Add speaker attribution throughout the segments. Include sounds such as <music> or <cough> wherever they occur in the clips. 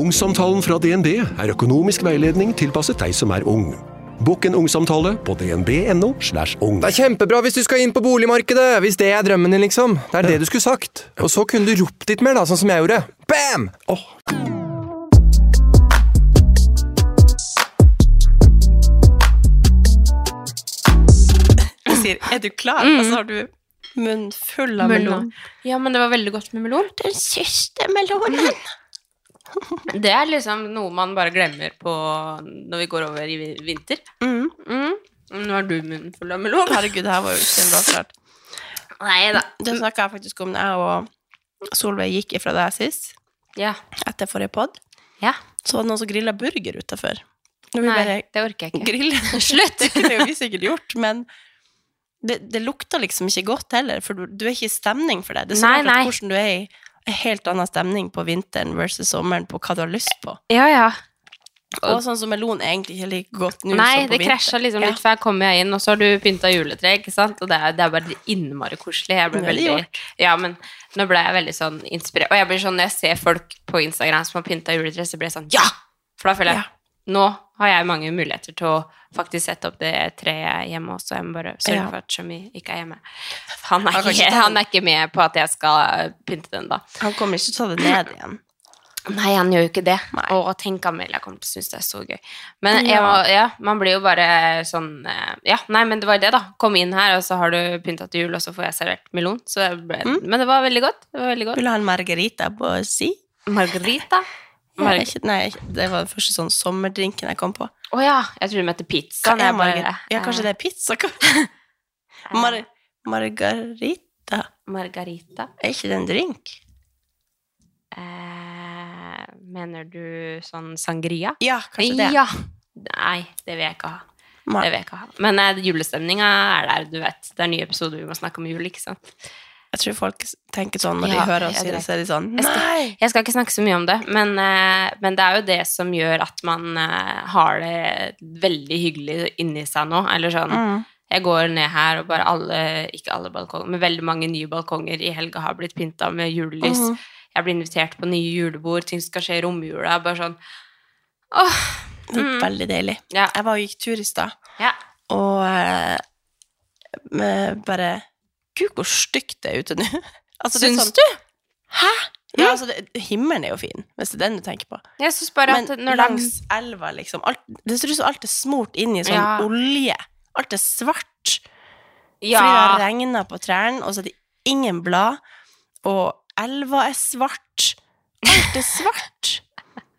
Speaker 1: Ungsamtalen fra DNB er økonomisk veiledning tilpasset deg som er ung. Bokk en ungsamtale på dnb.no. slash ung.
Speaker 2: Det er kjempebra hvis du skal inn på boligmarkedet, hvis det er drømmen din, liksom. Det er det du skulle sagt. Og så kunne du ropt litt mer, da, sånn som jeg gjorde. Bam! Åh,
Speaker 3: og sier 'er du klar?'
Speaker 4: Mm.
Speaker 3: Og så Altså, har du munnen full av melon.
Speaker 4: Ja, men det var veldig godt med melon.
Speaker 3: Den siste melonen!
Speaker 4: Det er liksom noe man bare glemmer på når vi går over i vi- vinter.
Speaker 3: Mm.
Speaker 4: Mm. Nå har du munnen full av
Speaker 3: <laughs>
Speaker 4: melon.
Speaker 3: Herregud, det her var jo ikke en bra start.
Speaker 4: Nei da.
Speaker 3: Det snakka jeg faktisk om da jeg og Solveig gikk ifra deg sist,
Speaker 4: Ja.
Speaker 3: etter forrige pod.
Speaker 4: Ja.
Speaker 3: Så var det noen som grilla burger utafor. Når vi bare
Speaker 4: Nei, det orker
Speaker 3: <laughs>
Speaker 4: jeg ikke.
Speaker 3: griller
Speaker 4: <laughs> Slutt!
Speaker 3: Det kunne jo vi sikkert gjort, men det, det lukta liksom ikke godt heller, for du, du er ikke i stemning for det. Det er så
Speaker 4: Nei,
Speaker 3: klart
Speaker 4: nei.
Speaker 3: hvordan du er i en helt annen stemning på vinteren versus sommeren på hva du har lyst på.
Speaker 4: Ja, ja.
Speaker 3: Og sånn som melon er egentlig ikke like godt nå
Speaker 4: Nei,
Speaker 3: som på
Speaker 4: det
Speaker 3: vinteren.
Speaker 4: krasja liksom
Speaker 3: Ja.
Speaker 4: litt, for her kommer jeg inn, og så har du pynta juletre, ikke sant? Og det er, det er bare innmari koselig. Jeg ble
Speaker 3: Det er det
Speaker 4: veldig Ja, men nå ble jeg veldig sånn inspirert. Og jeg blir sånn, når jeg ser folk på Instagram som har pynta juletre, så blir jeg sånn ja! For da føler jeg
Speaker 3: Ja.
Speaker 4: nå har jeg mange muligheter til å faktisk sette opp det treet hjemme også. Jeg må bare sørge
Speaker 3: Ja.
Speaker 4: for at Shami ikke er hjemme. Han er
Speaker 3: Han kan
Speaker 4: ikke,
Speaker 3: ikke ta den.
Speaker 4: han er ikke med på at jeg skal pynte den, da.
Speaker 3: Han kommer ikke til å ta det ned igjen.
Speaker 4: Nei, han gjør jo ikke det. Og tenk Amelia kommer til å synes det er så gøy. Men jeg
Speaker 3: Ja.
Speaker 4: må, ja, man blir jo bare sånn eh, Ja, nei, men det var jo det, da. Kom inn her, og så har du pynta til jul, og så får jeg servert melon. Så jeg ble, Men det var veldig godt. Det var veldig godt.
Speaker 3: Mm. Vil du ha en margarita på si?
Speaker 4: Margarita. Å
Speaker 3: Nei, ikke- Nei, det var den første sånn sommerdrinken jeg kom på.
Speaker 4: ja, jeg tror de heter pizza.
Speaker 3: Hva er
Speaker 4: Jeg bare- Eh,
Speaker 3: margarita? Ja, kanskje det er pizza?
Speaker 4: <laughs>
Speaker 3: <laughs> Mar margarita?
Speaker 4: Eh, Margarita.
Speaker 3: Er ikke det en drink?
Speaker 4: Eh, mener du sånn sangria?
Speaker 3: Ja, kanskje det.
Speaker 4: Ja. Nei, det vil jeg ikke ha.
Speaker 3: Nei.
Speaker 4: Det vil jeg ikke ha. Men eh, julestemninga er der, du vet. Det er nye episoder vi må snakke om jul, ikke sant.
Speaker 3: Jeg tror folk tenker sånn når
Speaker 4: Ja,
Speaker 3: de hører oss,
Speaker 4: ja,
Speaker 3: si det,
Speaker 4: greit.
Speaker 3: så er de sånn
Speaker 4: Jeg skal-
Speaker 3: Nei!
Speaker 4: Jeg skal ikke snakke så mye om det, men, eh, men det er jo det som gjør at man eh, har det veldig hyggelig inni seg nå. Eller sånn
Speaker 3: Mm.
Speaker 4: Jeg går ned her, og bare alle, ikke alle balkonger, men veldig mange nye balkonger i helga har blitt pynta med julelys.
Speaker 3: Mhm.
Speaker 4: Jeg blir invitert på nye julebord, ting skal skje i romjula. Bare sånn Åh!
Speaker 3: Det er
Speaker 4: Mm.
Speaker 3: veldig deilig.
Speaker 4: Ja.
Speaker 3: Jeg var og gikk tur i stad,
Speaker 4: ja.
Speaker 3: og eh, med bare Gud, hvor stygt det er ute nå. <laughs> Altså, det er
Speaker 4: Syns
Speaker 3: sånn- Ja, altså, det, himmelen er jo fin, hvis det er den du tenker på.
Speaker 4: Jeg syns bare
Speaker 3: Men
Speaker 4: at når
Speaker 3: langs
Speaker 4: de
Speaker 3: elva, liksom alt, Det ser ut som alt er smurt inn i sånn
Speaker 4: Ja.
Speaker 3: olje. Alt er svart.
Speaker 4: ja,
Speaker 3: Fordi det har regna på trærne, og så er det ingen blad. Og elva er svart. Alt er svart.
Speaker 4: <laughs>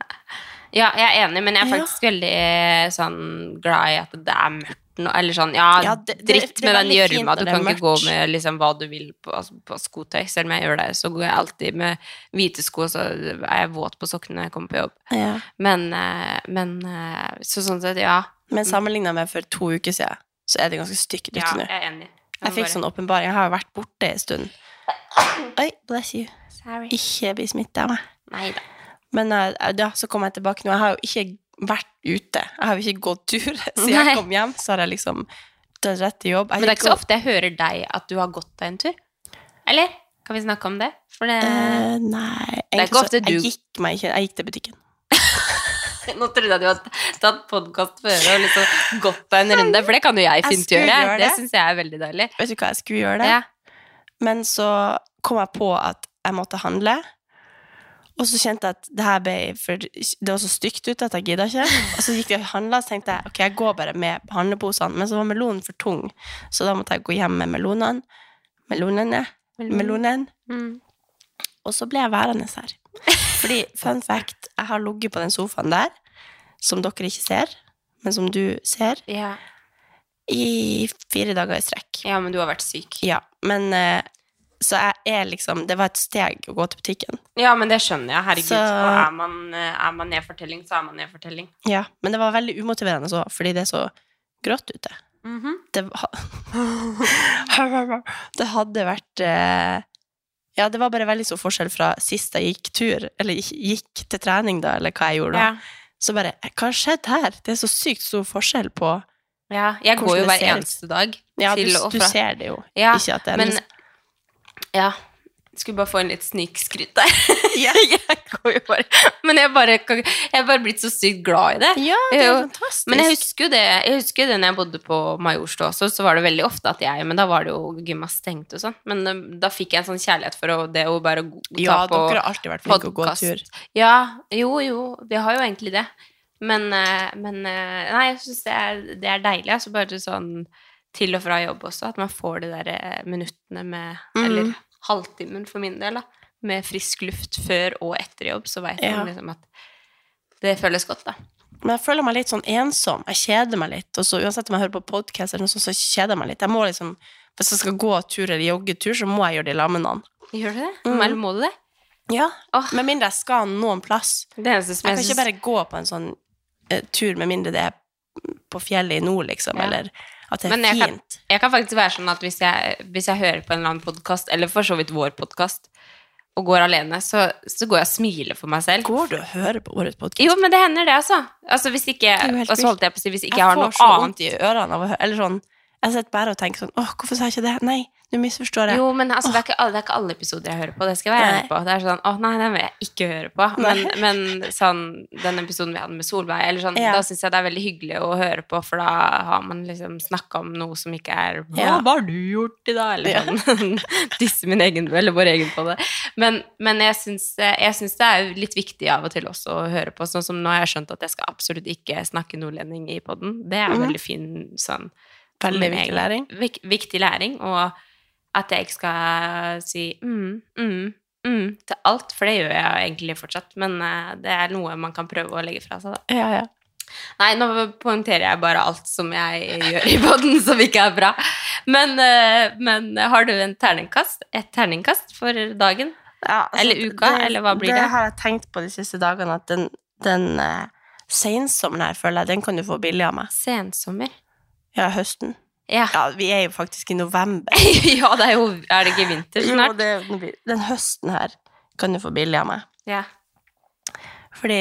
Speaker 4: ja, jeg er enig, men jeg er
Speaker 3: Ja.
Speaker 4: faktisk veldig eh, sånn glad i at det er mørkt nå. Eller sånn, ja,
Speaker 3: Ja, det- det-
Speaker 4: dritt
Speaker 3: det er
Speaker 4: med den
Speaker 3: veldig fint
Speaker 4: gjørma.
Speaker 3: når
Speaker 4: Du
Speaker 3: det er
Speaker 4: kan ikke gå
Speaker 3: mørkt.
Speaker 4: med liksom, hva du vil på, altså, på skotøy. Selv om jeg gjør det, så går jeg alltid med hvite sko, og så er jeg våt på sokkene når jeg kommer på jobb. Men, eh, men eh, så sånn sett, ja.
Speaker 3: Men sammenligna med for to uker siden, så er det ganske stygt
Speaker 4: Ja,
Speaker 3: ute nå.
Speaker 4: jeg er enig.
Speaker 3: Jeg fikk sånn åpenbaring. Jeg har jo vært borte en stund. Oi, bless you.
Speaker 4: Sorry.
Speaker 3: Ikke bli smitta av meg.
Speaker 4: Nei da.
Speaker 3: Men jeg, jeg- ja, så kom jeg tilbake nå. Jeg har jo ikke vært ute. Jeg har jo ikke gått tur. <laughs> Siden
Speaker 4: Nei.
Speaker 3: jeg kom hjem, så har jeg liksom dratt rett til jobb. Jeg
Speaker 4: Men det er
Speaker 3: gikk
Speaker 4: ikke så
Speaker 3: og-
Speaker 4: ofte jeg hører deg at du har gått deg en tur. Eller? Kan vi snakke om det? For det
Speaker 3: Eh, nei,
Speaker 4: er ikke
Speaker 3: egentlig så-
Speaker 4: ofte du-
Speaker 3: Jeg gikk meg ikke Jeg gikk til butikken.
Speaker 4: <laughs> Nå trodde jeg du hadde tatt podkast før og liksom gått deg en runde, for det kan jo jeg
Speaker 3: Jeg
Speaker 4: fint
Speaker 3: skulle
Speaker 4: gjøre.
Speaker 3: gjøre
Speaker 4: Det
Speaker 3: det.
Speaker 4: syns jeg er veldig deilig.
Speaker 3: Vet du hva, jeg skulle gjøre det.
Speaker 4: Ja.
Speaker 3: Men så kom jeg på at jeg måtte handle. Og så kjente jeg at det her ble for Det var så stygt ute at jeg gidda ikke. Og så gikk jeg og handla, og så tenkte jeg ok, jeg går bare med handleposene. Men så var melonen for tung, så da måtte jeg gå hjem med melonene. Melonene. Melonen. Og så ble jeg værende her. Fordi, fun fact, jeg har ligget på den sofaen der, som dere ikke ser, men som du ser,
Speaker 4: Ja.
Speaker 3: i fire dager i strekk.
Speaker 4: ja, men du har vært syk.
Speaker 3: Ja, men eh, Så jeg er liksom Det var et steg å gå til butikken.
Speaker 4: Ja, men det skjønner jeg. Herregud.
Speaker 3: Så-
Speaker 4: Og er man, eh, er man nedfortelling, så er man nedfortelling.
Speaker 3: Ja, men det var veldig umotiverende også, fordi det er så grått ute.
Speaker 4: Mhm.
Speaker 3: det, var, <laughs> det hadde vært eh, Ja, det var bare veldig stor forskjell fra sist jeg gikk tur, eller gikk- gikk til trening, da, eller hva jeg gjorde da.
Speaker 4: Ja.
Speaker 3: Så bare eh, Hva har skjedd her? Det er så sykt stor forskjell på
Speaker 4: Ja, jeg
Speaker 3: Hvordan
Speaker 4: går jo
Speaker 3: det
Speaker 4: hver
Speaker 3: ser ut.
Speaker 4: eneste dag
Speaker 3: Ja, du,
Speaker 4: til og
Speaker 3: du
Speaker 4: fra.
Speaker 3: ser det jo.
Speaker 4: Ja,
Speaker 3: ikke at det er
Speaker 4: men
Speaker 3: liksom-
Speaker 4: Ja. Skulle bare få en litt snikskryt der.
Speaker 3: Ja.
Speaker 4: <laughs> jeg går jo bare Men jeg, bare, kan- jeg er bare blitt så sykt glad i det.
Speaker 3: Ja, det er jo
Speaker 4: Jo,
Speaker 3: fantastisk.
Speaker 4: Men jeg husker jo det Jeg husker jo det når jeg bodde på Majorstua også, så var det veldig ofte at jeg Men da var det jo gymma stengt og sånn. Men eh, da fikk jeg en sånn kjærlighet for å- det å bare gå- ta
Speaker 3: ja,
Speaker 4: på
Speaker 3: dere har alltid vært flinke til å gå
Speaker 4: podcast.
Speaker 3: tur.
Speaker 4: Ja, jo, jo, vi har jo egentlig det. Men, eh, men eh, Nei, jeg syns det, er- det er deilig. Altså bare sånn til og fra jobb også, at man får de der eh, minuttene med
Speaker 3: Mhm.
Speaker 4: Eller halvtimen for min del, da. Med frisk luft før og etter jobb, så veit
Speaker 3: Ja.
Speaker 4: man liksom at det føles godt, da.
Speaker 3: Men jeg føler meg litt sånn ensom. Jeg kjeder meg litt. Og så uansett om jeg hører på podkast eller noe sånt, så kjeder jeg meg litt. Jeg må liksom, Hvis jeg skal gå tur eller joggetur, så må jeg gjøre det i lag med noen.
Speaker 4: Gjør du det?
Speaker 3: Mhm.
Speaker 4: Eller må du det?
Speaker 3: Ja,
Speaker 4: Åh.
Speaker 3: Med mindre jeg skal noen plass.
Speaker 4: Det eneste som
Speaker 3: Jeg kan
Speaker 4: jeg,
Speaker 3: ikke
Speaker 4: synes-
Speaker 3: bare gå på en sånn eh, tur med mindre det er på fjellet i nord, liksom,
Speaker 4: Ja.
Speaker 3: eller at det er
Speaker 4: Men jeg kan-
Speaker 3: fint.
Speaker 4: Jeg kan faktisk være sånn at hvis jeg, hvis jeg hører på en eller annen podkast, eller for så vidt vår podkast, og går alene, så, så går jeg og smiler for meg selv.
Speaker 3: Går du og hører på vårt podkast?
Speaker 4: Jo, men det hender det, altså. altså hvis ikke,
Speaker 3: er jo helt
Speaker 4: og så
Speaker 3: vilt.
Speaker 4: holdt jeg på å si hvis ikke jeg har noe
Speaker 3: får så
Speaker 4: annet
Speaker 3: vondt i ørene av å høre Eller sånn Jeg sitter bare og tenker sånn Åh, hvorfor sa jeg ikke det? Nei, nå misforstår jeg.
Speaker 4: Jo, men altså, det, er ikke alle, det er ikke alle episoder jeg hører på. Det skal jeg være ærlig
Speaker 3: Nei.
Speaker 4: på. Det er sånn, å nei, den vil jeg ikke høre på. Men,
Speaker 3: Nei.
Speaker 4: men sånn, den episoden vi hadde med Solveig, eller sånn,
Speaker 3: Ja.
Speaker 4: da syns jeg det er veldig hyggelig å høre på, for da har man liksom snakka om noe som ikke er Hva
Speaker 3: Ja.
Speaker 4: har du gjort i dag? Eller sånn. <laughs> Disse min egen, eller vår egen på det. Men, men jeg syns jeg syns det er litt viktig av og til også å høre på. Sånn som nå har jeg skjønt at jeg skal absolutt ikke snakke nordlending i poden. Det er en veldig fin sånn
Speaker 3: Mhm. Veldig
Speaker 4: min
Speaker 3: viktig
Speaker 4: egen-
Speaker 3: læring.
Speaker 4: Vik, viktig læring, og at jeg ikke skal si mm, mm, mm til alt, for det gjør jeg egentlig fortsatt, men eh, det er noe man kan prøve å legge fra seg, da.
Speaker 3: Ja, ja.
Speaker 4: Nei, nå poengterer jeg bare alt som jeg gjør i podden som ikke er bra. Men, eh, men har du en terningkast? Et terningkast for dagen?
Speaker 3: Ja, altså,
Speaker 4: Eller uka, eller hva blir det?
Speaker 3: Det har jeg tenkt på de siste dagene, at den, den eh, sensommeren her, føler jeg, den kan du få billig av meg.
Speaker 4: Sensommer.
Speaker 3: Ja, høsten.
Speaker 4: Ja.
Speaker 3: Ja, vi er jo faktisk i november.
Speaker 4: <laughs> ja, det er jo Er <laughs> det ikke vinter
Speaker 3: Jo,
Speaker 4: snart?
Speaker 3: det, nå blir- den høsten her kan du få billig av meg.
Speaker 4: Ja.
Speaker 3: Fordi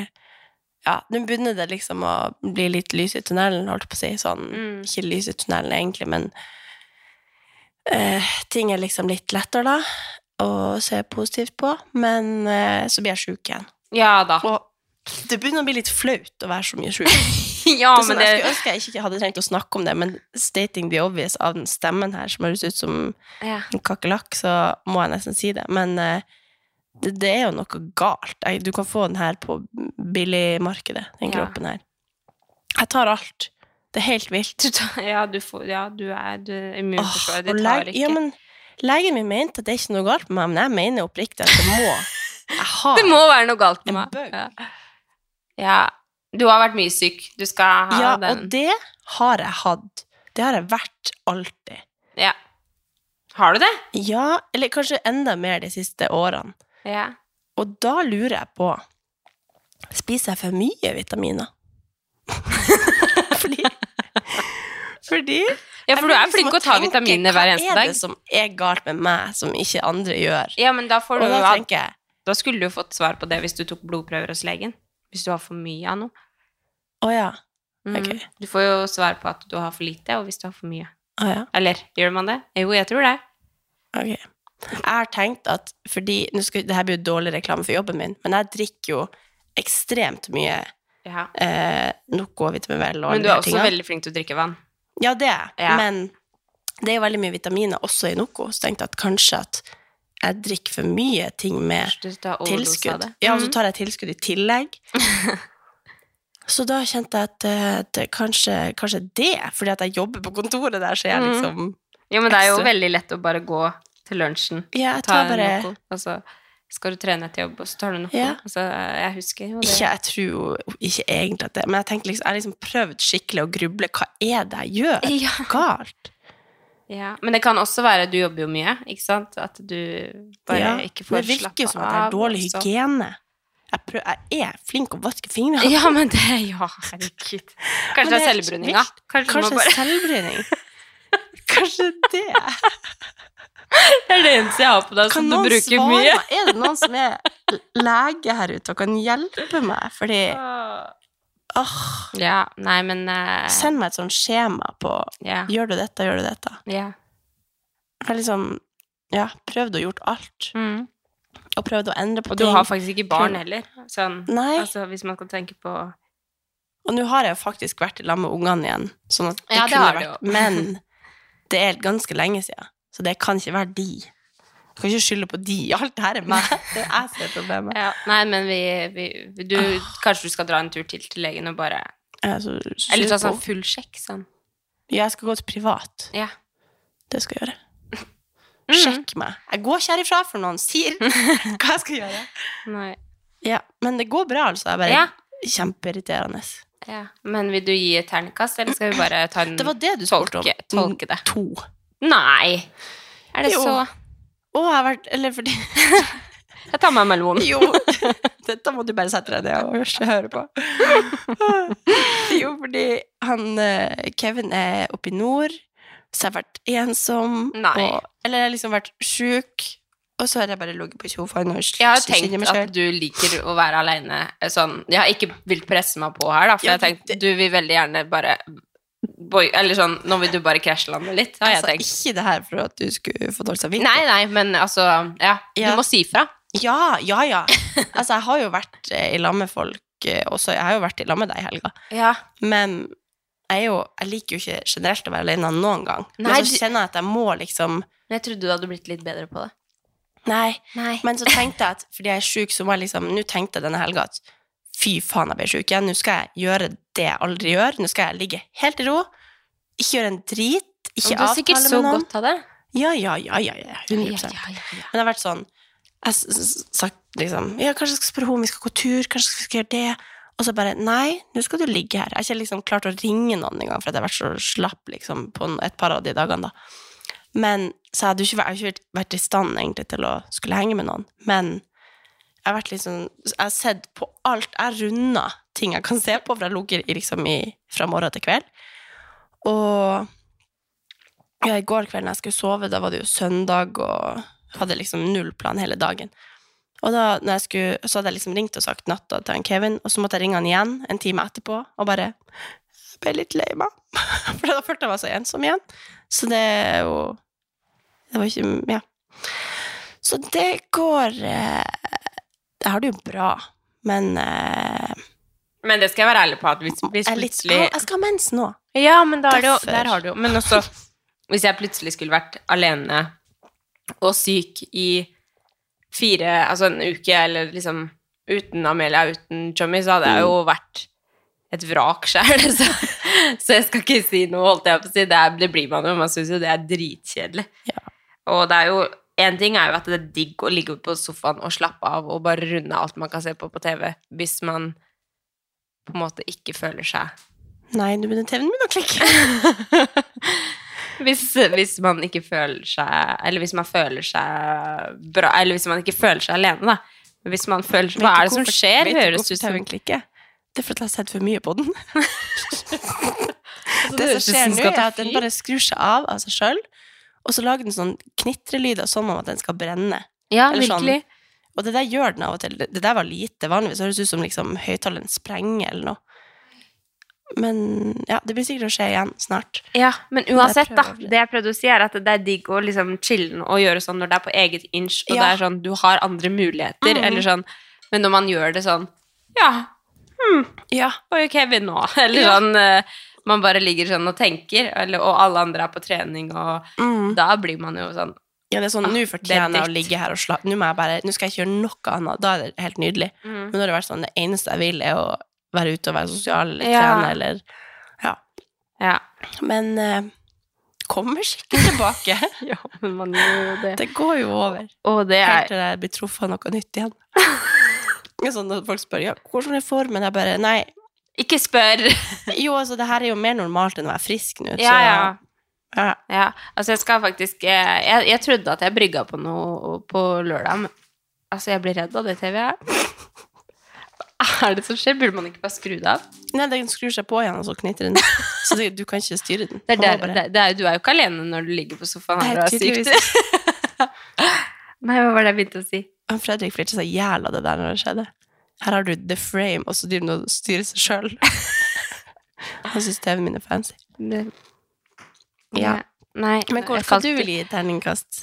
Speaker 3: ja, nå begynner det liksom å bli litt lys i tunnelen, holdt jeg på å si. Sånn,
Speaker 4: Mm.
Speaker 3: Ikke lys i tunnelen egentlig, men eh, ting er liksom litt lettere da, å se positivt på. Men eh, så blir jeg sjuk igjen.
Speaker 4: ja da.
Speaker 3: Og det begynner å bli litt flaut å være så mye sjuk.
Speaker 4: <laughs> Ja,
Speaker 3: Det er sånn,
Speaker 4: men det
Speaker 3: Jeg skulle ønske jeg ikke hadde trengt å snakke om det, men stating the obvious av den stemmen her, som høres ut som
Speaker 4: ja.
Speaker 3: en kakerlakk, så må jeg nesten si det. Men eh, det, det er jo noe galt. Jeg, du kan få den her på billigmarkedet, den
Speaker 4: Ja.
Speaker 3: kroppen her. Jeg tar alt. Det er helt vilt.
Speaker 4: Du tar, ja, du får, ja, du er du, immunforsvaret
Speaker 3: Åh,
Speaker 4: ditt
Speaker 3: og
Speaker 4: tar
Speaker 3: leg-
Speaker 4: ikke.
Speaker 3: Ja, men legen min mente at det er ikke noe galt med meg, men jeg mener oppriktig at det må
Speaker 4: <laughs>
Speaker 3: jeg har
Speaker 4: <laughs> det må være noe galt med
Speaker 3: en
Speaker 4: meg.
Speaker 3: bøk.
Speaker 4: Ja. ja. Du har vært mye syk. Du skal ha
Speaker 3: Ja,
Speaker 4: den.
Speaker 3: og det har jeg hatt. Det har jeg vært alltid.
Speaker 4: Ja. Har du det?
Speaker 3: Ja, eller kanskje enda mer de siste årene.
Speaker 4: Ja.
Speaker 3: Og da lurer jeg på Spiser jeg for mye vitaminer? <laughs> fordi Fordi
Speaker 4: ja, for du er flink å ta
Speaker 3: Jeg tenker,
Speaker 4: vitaminer hver eneste
Speaker 3: Hva er
Speaker 4: dag.
Speaker 3: det som er galt med meg, som ikke andre gjør?
Speaker 4: Ja, men da, får
Speaker 3: Og
Speaker 4: du,
Speaker 3: da
Speaker 4: da,
Speaker 3: tenker jeg
Speaker 4: da skulle du jo fått svar på det hvis du tok blodprøver hos legen. Hvis du har for mye av noe.
Speaker 3: Å ja.
Speaker 4: Mm.
Speaker 3: Ok.
Speaker 4: Du får jo svar på at du har for lite, og hvis du har for mye.
Speaker 3: Å ja.
Speaker 4: Eller gjør man det? Jo, jeg tror det.
Speaker 3: Ok. Jeg har tenkt at fordi nå skal, det her blir jo dårlig reklame for jobben min, men jeg drikker jo ekstremt mye
Speaker 4: Ja.
Speaker 3: eh, Noco og vitamin Vel og
Speaker 4: Men
Speaker 3: alle
Speaker 4: du
Speaker 3: de
Speaker 4: er
Speaker 3: her
Speaker 4: også
Speaker 3: tingene.
Speaker 4: veldig flink til å drikke vann.
Speaker 3: Ja, det er jeg.
Speaker 4: Ja.
Speaker 3: Men det er jo veldig mye vitaminer også i Noco, så tenkte jeg at kanskje at jeg drikker for mye ting med
Speaker 4: Du tar overdose av
Speaker 3: tilskudd.
Speaker 4: det. Mm. Mhm.
Speaker 3: Ja, altså, og så tar jeg tilskudd i tillegg.
Speaker 4: <laughs>
Speaker 3: så da kjente jeg at, eh, at kanskje, kanskje det, fordi at jeg jobber på kontoret der, så jeg
Speaker 4: Mm.
Speaker 3: liksom
Speaker 4: Jo, men det er jo
Speaker 3: Ekstra.
Speaker 4: veldig lett å bare gå til lunsjen,
Speaker 3: Ja, jeg
Speaker 4: ta
Speaker 3: tar bare
Speaker 4: noe, og så skal du trene etter jobb, og så tar du noe.
Speaker 3: Ja.
Speaker 4: Og så, jeg husker jo det.
Speaker 3: Ikke, jeg tror jo ikke egentlig at det
Speaker 4: <laughs>
Speaker 3: Men jeg tenker liksom, jeg har liksom prøvd skikkelig å gruble. Hva er det jeg gjør?
Speaker 4: Ja.
Speaker 3: Galt.
Speaker 4: Ja, Men det kan også være du jobber jo mye, ikke sant? At du bare
Speaker 3: Ja,
Speaker 4: ikke
Speaker 3: men
Speaker 4: får
Speaker 3: det virker
Speaker 4: slappe
Speaker 3: jo som at jeg har
Speaker 4: av, altså. liksom.
Speaker 3: dårlig
Speaker 4: og så-
Speaker 3: hygiene. Jeg, prøv, jeg er flink å vaske fingrene.
Speaker 4: <laughs> Ja, men det Ja, herregud. Kanskje
Speaker 3: Men
Speaker 4: det er
Speaker 3: jeg-
Speaker 4: selvbruninga. Kanskje,
Speaker 3: <laughs> Kanskje
Speaker 4: du må bare... <laughs>
Speaker 3: selvbryning. Kanskje det.
Speaker 4: Det er det eneste jeg har på
Speaker 3: Kan
Speaker 4: deg som Altså, du
Speaker 3: noen
Speaker 4: bruker
Speaker 3: svare
Speaker 4: mye.
Speaker 3: meg? Er det noen som er lege her ute og kan hjelpe meg? Fordi åh,
Speaker 4: Ja, nei, men eh,
Speaker 3: Ah. Send meg et sånt skjema på
Speaker 4: ja,
Speaker 3: Gjør du dette, gjør du dette?
Speaker 4: ja.
Speaker 3: Jeg har liksom ja, prøvd å gjort alt.
Speaker 4: Mm.
Speaker 3: Og prøvd å endre på
Speaker 4: Og du
Speaker 3: ting.
Speaker 4: har faktisk ikke barn heller. Sånn,
Speaker 3: Nei.
Speaker 4: altså, hvis man kan tenke på
Speaker 3: Og nå har jeg jo faktisk vært i lag med ungene igjen, sånn at det
Speaker 4: Ja, det
Speaker 3: kunne
Speaker 4: har du
Speaker 3: vært <laughs>
Speaker 4: jo.
Speaker 3: Men det er ganske lenge siden, så det kan ikke være de. Jeg kan ikke skylde på de. <laughs> Alt det her er meg. Det er jeg som er <laughs> problemet.
Speaker 4: ja, Nei, men vi, vi, vi du,
Speaker 3: Ah.
Speaker 4: Kanskje du skal dra en tur til til legen og bare
Speaker 3: Jeg, er så sur
Speaker 4: Eller ta
Speaker 3: på-
Speaker 4: sånn full sjekk, sånn.
Speaker 3: Ja, jeg skal gå til privat.
Speaker 4: Ja.
Speaker 3: Det skal jeg <laughs> gjøre. Sjekk meg. Jeg går ikke herifra før noen <laughs> sier hva jeg skal gjøre.
Speaker 4: Nei.
Speaker 3: Ja, men det går bra, altså. Jeg er bare
Speaker 4: Ja.
Speaker 3: kjempeirriterende.
Speaker 4: Ja. Men vil du gi et ternekast, eller skal vi bare ta en
Speaker 3: <clears throat> Det var det du spurte om. Mm,
Speaker 4: tolke, tolke det?
Speaker 3: To.
Speaker 4: Nei! Er det
Speaker 3: Jo.
Speaker 4: så
Speaker 3: Å, jeg har vært Eller fordi
Speaker 4: Jeg tar meg en <laughs> melon.
Speaker 3: Jo, dette må du bare sette deg ned og ikke høre
Speaker 4: <laughs>
Speaker 3: på. Jo, fordi han eh, Kevin er oppe i nord, så jeg har vært ensom.
Speaker 4: Nei.
Speaker 3: Og, eller jeg har liksom vært sjuk, og så har jeg bare ligget på sofaen og
Speaker 4: Jeg har
Speaker 3: kikket
Speaker 4: tenkt
Speaker 3: meg selv.
Speaker 4: at du liker å være aleine. Sånn, jeg har ikke villet presse meg på her, da, for
Speaker 3: Ja,
Speaker 4: jeg har tenkt
Speaker 3: det-
Speaker 4: du vil veldig gjerne bare boy, Eller sånn, nå vil du bare krasjlande litt, har jeg
Speaker 3: Altså,
Speaker 4: tenkt.
Speaker 3: ikke det her for at du skulle få dårlig samvittighet.
Speaker 4: Nei, nei, men altså Ja,
Speaker 3: Ja.
Speaker 4: du må si fra.
Speaker 3: Ja, ja,
Speaker 4: <laughs>
Speaker 3: ja. Altså, jeg har jo vært eh, i lag med folk eh, også. Jeg har jo vært i lag med deg i helga.
Speaker 4: Ja.
Speaker 3: Men jeg, er jo, jeg liker jo ikke generelt å være alene noen gang.
Speaker 4: Nei,
Speaker 3: men så
Speaker 4: du-
Speaker 3: kjenner jeg at jeg må liksom
Speaker 4: Men jeg trodde du hadde blitt litt bedre på det.
Speaker 3: Nei.
Speaker 4: Nei.
Speaker 3: Men så tenkte jeg at fordi jeg er sjuk, så må jeg liksom Nå tenkte jeg denne helga at fy faen, jeg ble sjuk igjen. Nå skal jeg gjøre det jeg aldri gjør. Nå skal jeg ligge helt i ro. Ikke gjøre en drit. Ikke
Speaker 4: Men du har sikkert
Speaker 3: avtale
Speaker 4: så
Speaker 3: med noen.
Speaker 4: godt av det.
Speaker 3: Ja, ja, ja, ja. ja 100
Speaker 4: ja.
Speaker 3: Men det har vært sånn Jeg s- s- sagt liksom Ja, kanskje jeg skal spørre henne om vi skal gå tur, kanskje vi skal gjøre det. Og så bare Nei, nå skal du ligge her. Jeg har ikke liksom klart å ringe noen engang, for at jeg har vært så slapp liksom, på en- et par av de dagene, da. Men så jeg hadde jo ikke, vært- jeg har ikke vært- vært i stand egentlig til å skulle henge med noen. Men jeg har vært liksom Jeg har sett på alt. Jeg runder ting jeg kan se på, for jeg ligger i liksom i, fra morgen til kveld. Og ja, i går kveld når jeg skulle sove, da var det jo søndag, og hadde liksom null plan hele dagen. Og da når jeg skulle, så hadde jeg liksom ringt og sagt natta til han Kevin, og så måtte jeg ringe han igjen en time etterpå, og bare jeg ble litt lei meg. <laughs> For da følte jeg meg så ensom igjen. Så det er jo Det var ikke Ja. Så det går eh, Jeg har det jo bra, men eh,
Speaker 4: Men det skal jeg være ærlig på, at hvis, hvis
Speaker 3: jeg, er litt, altså,
Speaker 4: plutselig
Speaker 3: Au, jeg skal ha mens nå.
Speaker 4: Ja, men da er det jo,
Speaker 3: Derfor.
Speaker 4: der har du jo Men også, hvis jeg plutselig skulle vært alene og syk i fire Altså en uke, eller liksom uten Amelia, uten Chummy, så hadde jeg jo vært et vrak sjøl. <laughs> Så, så jeg skal ikke si noe, holdt jeg på å si. Det, er, det blir man jo. Man syns jo det er dritkjedelig. Og det er jo en ting er jo at det er digg å ligge på sofaen og slappe av og bare runde alt man kan se på på TV, hvis man på en måte ikke føler seg
Speaker 3: Nei, nå begynner TV-en min å klikke.
Speaker 4: hvis, hvis man ikke føler seg Eller hvis man føler seg bra Eller hvis man ikke føler seg alene, da. Men Hvis man føler seg, hva er det som skjer? Høres ut som
Speaker 3: klikker? Det er fordi jeg har sett for mye på den. <laughs>
Speaker 4: det
Speaker 3: Det som
Speaker 4: Altså, høres ut
Speaker 3: skjer
Speaker 4: som
Speaker 3: nå,
Speaker 4: skal
Speaker 3: er
Speaker 4: ta
Speaker 3: at den
Speaker 4: fyr.
Speaker 3: bare skrur seg av av seg sjøl, og så lager den sånn knitrelyder som om at den skal brenne.
Speaker 4: Ja,
Speaker 3: eller sånn.
Speaker 4: virkelig.
Speaker 3: Og det der gjør den av og til. Det det der var lite. Vanligvis høres det ut som liksom høyttaleren sprenger eller noe. Men ja, det blir sikkert å skje igjen snart.
Speaker 4: Ja, men uansett, da.
Speaker 3: prøver jeg.
Speaker 4: Det jeg prøvde å si, er at det er digg å liksom chille og gjøre sånn når det er på eget inch, og
Speaker 3: Ja.
Speaker 4: det er sånn du har andre muligheter, eller sånn Men når man gjør det sånn Ja,
Speaker 3: Ja.
Speaker 4: og jo Kevin nå, <laughs> eller
Speaker 3: Ja.
Speaker 4: sånn eh, Man bare ligger sånn og tenker, eller, og alle andre er på trening, og da blir man jo sånn
Speaker 3: Ja, det er sånn,
Speaker 4: Ah,
Speaker 3: Nå fortjener
Speaker 4: det er
Speaker 3: jeg å ligge her og slappe Nå må jeg bare, nå skal jeg ikke gjøre noe annet. Da er det helt nydelig.
Speaker 4: Mm.
Speaker 3: Men nå har det vært sånn, det eneste jeg vil, er å være ute og være sosial eller
Speaker 4: Ja.
Speaker 3: trene eller Ja.
Speaker 4: Ja.
Speaker 3: Men eh, kommer sikkert tilbake.
Speaker 4: <laughs> Ja, men man gjør jo det.
Speaker 3: Det går jo over.
Speaker 4: Og det
Speaker 3: Helt
Speaker 4: er
Speaker 3: til jeg blir truffet av noe nytt
Speaker 4: <laughs>
Speaker 3: igjen. Det er sånn når folk spør ja, hvordan er formen, jeg bare Nei,
Speaker 4: Ikke spør!
Speaker 3: <laughs> jo, altså, det her er jo mer normalt enn å være frisk nå.
Speaker 4: Ja, ja.
Speaker 3: Ja.
Speaker 4: Ja, altså jeg skal faktisk eh, Jeg, jeg trodde at jeg brygga på noe på lørdag, men altså jeg blir redd av det TV-et. Hva <laughs> er det som skjer? Burde man ikke bare skru det av?
Speaker 3: Nei, den skrur seg på igjen, og så knitrer
Speaker 4: <laughs>
Speaker 3: den. Så det, du kan ikke styre den.
Speaker 4: Det er
Speaker 3: Man må
Speaker 4: der,
Speaker 3: bare-
Speaker 4: det, det er, du er jo ikke alene når du ligger på sofaen
Speaker 3: Nei,
Speaker 4: her og har
Speaker 3: tydeligvis
Speaker 4: sykt. <laughs> Nei, hva var det jeg begynte å si?
Speaker 3: Han Fredrik flirte seg i hjel av det der når det skjedde. Her har du the frame, og så driver han og styrer seg <laughs> sjøl. Han syns TV-en min er fancy.
Speaker 4: Det-
Speaker 3: Ja.
Speaker 4: Nei,
Speaker 3: Men
Speaker 4: jeg
Speaker 3: hvordan skal
Speaker 4: falt
Speaker 3: du
Speaker 4: ut.
Speaker 3: vil gi terningkast?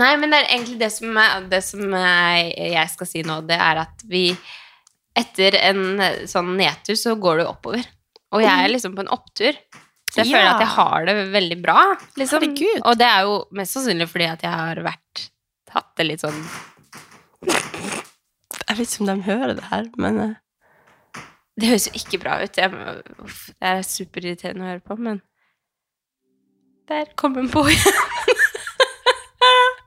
Speaker 4: Nei, men det er egentlig det som, er- det som er- jeg skal si nå, det er at vi Etter en sånn nedtur så går det oppover. Og jeg er liksom på en opptur. Så jeg
Speaker 3: Mm. Ja.
Speaker 4: føler at jeg har det veldig bra. Liksom.
Speaker 3: Herregud.
Speaker 4: Og det er jo mest sannsynlig fordi at jeg har vært hatt det litt sånn
Speaker 3: Jeg vet ikke om de hører det her, men eh,
Speaker 4: Det høres jo ikke bra ut. Jeg, må- uff, det er superirriterende å høre på, men Der kom hun på igjen. <laughs>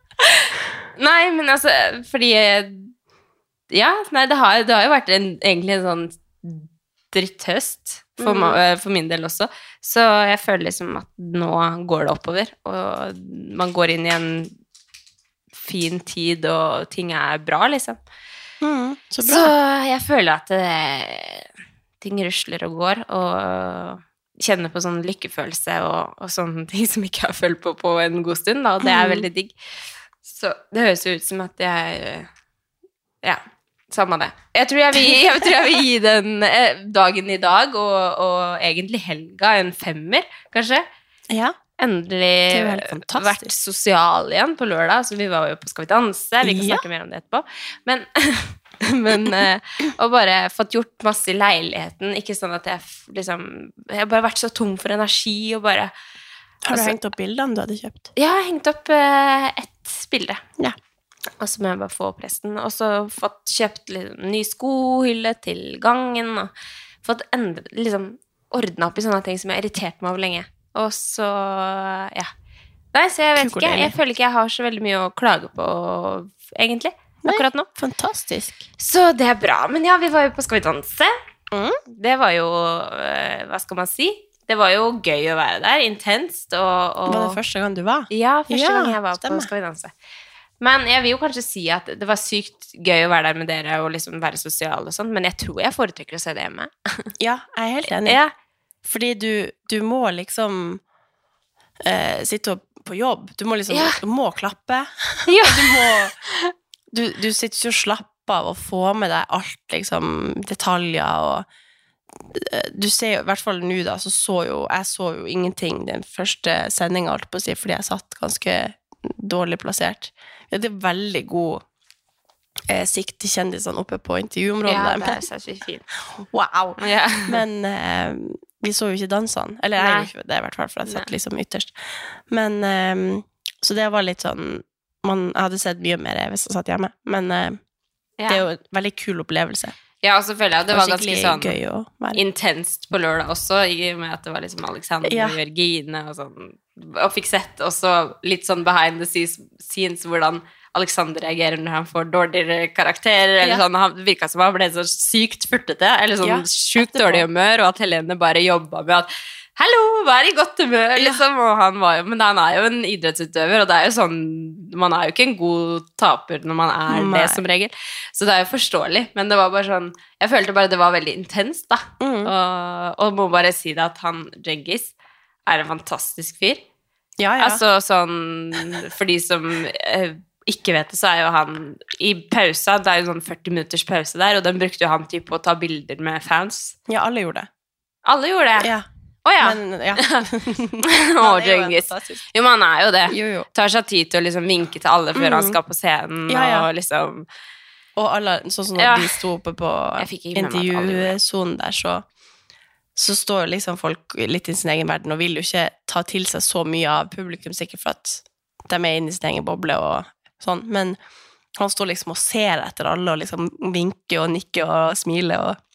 Speaker 4: nei, men altså Fordi eh, Ja, nei, det har, det har jo vært en, egentlig en sånn dritthøst for, ma- eh, for min del også. Så jeg føler liksom at nå går det oppover, og man går inn i en fin tid, og ting er bra, liksom.
Speaker 3: Mm, så
Speaker 4: Så
Speaker 3: bra.
Speaker 4: jeg føler at det, ting rusler og går, og kjenner på sånn lykkefølelse og, og sånne ting som ikke jeg har følt på på en god stund, da, og det er veldig digg. Så det høres jo ut som at jeg Ja, samme det. Jeg tror jeg vil, jeg tror jeg vil gi den eh, dagen i dag, og, og egentlig helga, en femmer, kanskje
Speaker 3: Ja. Det er jo helt
Speaker 4: endelig
Speaker 3: fantastisk.
Speaker 4: vært sosial igjen på lørdag, så vi var jo på Skal vi danse, vi kan
Speaker 3: Ja.
Speaker 4: snakke mer om det etterpå. Men, <laughs> men eh, og bare fått gjort masse i leiligheten, ikke sånn at jeg f- liksom Jeg har bare vært så tom for energi og bare
Speaker 3: Har du
Speaker 4: Altså-
Speaker 3: hengt opp bildene du hadde kjøpt?
Speaker 4: Jeg har hengt opp eh, ett bilde.
Speaker 3: Ja.
Speaker 4: Og så må jeg bare få opp resten. Og så fått kjøpt liksom, ny skohylle til gangen, og fått endre, liksom ordna opp i sånne ting som jeg har irritert meg over lenge. Og så ja. Nei, så jeg vet
Speaker 3: Kukordelig.
Speaker 4: ikke. Jeg føler ikke jeg har så veldig mye å klage på, egentlig. Akkurat nå.
Speaker 3: Fantastisk.
Speaker 4: Så det er bra. Men ja, vi var jo på Skal vi danse. Det var jo eh, Hva skal man si? Det var jo gøy å være der. Intenst. Og, og
Speaker 3: Var det første gang du var?
Speaker 4: ja, første
Speaker 3: Ja,
Speaker 4: gang jeg var
Speaker 3: stemmer.
Speaker 4: på Skal vi danse. Men jeg vil jo kanskje si at det var sykt gøy å være der med dere og liksom være sosial og sånn, men jeg tror jeg foretrekker å se det hjemme.
Speaker 3: Ja, jeg er helt enig.
Speaker 4: Ja,
Speaker 3: Fordi du, du må liksom eh, sitte og, på jobb. Du må liksom
Speaker 4: Ja.
Speaker 3: du må klappe. <laughs>
Speaker 4: Ja.
Speaker 3: Og du må du, du sitter ikke og slapper av og får med deg alt, liksom, detaljer og du ser jo, i hvert fall nå da, så så jo jeg så jo ingenting den første sendinga, holdt jeg på å si, fordi jeg satt ganske dårlig plassert. Ja, det er veldig god eh, sikt til kjendisene oppe på intervjuområdet.
Speaker 4: ja
Speaker 3: der,
Speaker 4: det
Speaker 3: men-
Speaker 4: er sinnssykt fint.
Speaker 3: Wow!
Speaker 4: Ja. <laughs>
Speaker 3: Men eh, vi så jo ikke dansene. Eller jeg
Speaker 4: Nei.
Speaker 3: gjorde ikke det, i hvert fall, for jeg satt
Speaker 4: Nei.
Speaker 3: liksom ytterst. Men eh, Så det var litt sånn man, Jeg hadde sett mye mer hvis jeg satt hjemme. Men eh, det er jo
Speaker 4: Ja.
Speaker 3: en veldig kul opplevelse.
Speaker 4: ja, og så føler jeg at det
Speaker 3: og
Speaker 4: var ganske
Speaker 3: skikkelig
Speaker 4: sånn
Speaker 3: gøy å være
Speaker 4: intenst på lørdag også, i og med at det var liksom Alexander
Speaker 3: Ja.
Speaker 4: og Jørgine og sånn, og fikk sett også litt sånn behind the scenes, scenes hvordan Alexander reagerer når han får dårligere karakterer, eller
Speaker 3: Ja.
Speaker 4: sånn, han virket som han ble så sykt furtete, eller sånn
Speaker 3: Ja,
Speaker 4: sjukt
Speaker 3: etterpå.
Speaker 4: dårlig humør, og at Helene bare jobbet med at Hallo, vær i godt humør, liksom. Og han var jo, men han er jo en idrettsutøver, og det er jo sånn Man er jo ikke en god taper når man er
Speaker 3: Nei.
Speaker 4: det, som regel. Så det er jo forståelig, men det var bare sånn Jeg følte bare det var veldig intenst, da.
Speaker 3: Mm.
Speaker 4: Og, og må bare si det at han Djengis er en fantastisk fyr.
Speaker 3: Ja, ja.
Speaker 4: Altså sånn For de som eh, ikke vet det, så er jo han i pausa Det er jo sånn 40 minutters pause der, og den brukte jo han til på å ta bilder med fans.
Speaker 3: ja, alle gjorde det.
Speaker 4: Alle gjorde det. Å ja.
Speaker 3: Ja. Men, ja.
Speaker 4: <laughs> Å,
Speaker 3: Han er jo en
Speaker 4: Djengis.
Speaker 3: fantastisk-
Speaker 4: Jo, men han er jo det.
Speaker 3: Jo, jo. Mm.
Speaker 4: Tar seg tid til å liksom vinke til alle før han skal på scenen.
Speaker 3: Ja, ja.
Speaker 4: Og liksom
Speaker 3: Og alle, sånn som når
Speaker 4: Ja.
Speaker 3: de sto oppe på
Speaker 4: Jeg fikk ikke med meg at alle gjorde det.
Speaker 3: intervjusonen der, så, så står jo liksom folk litt i sin egen verden og vil jo ikke ta til seg så mye av publikum, sikkert for at de er inne i sin egen boble og sånn. Men han står liksom og ser etter alle og liksom vinker og nikker og smiler og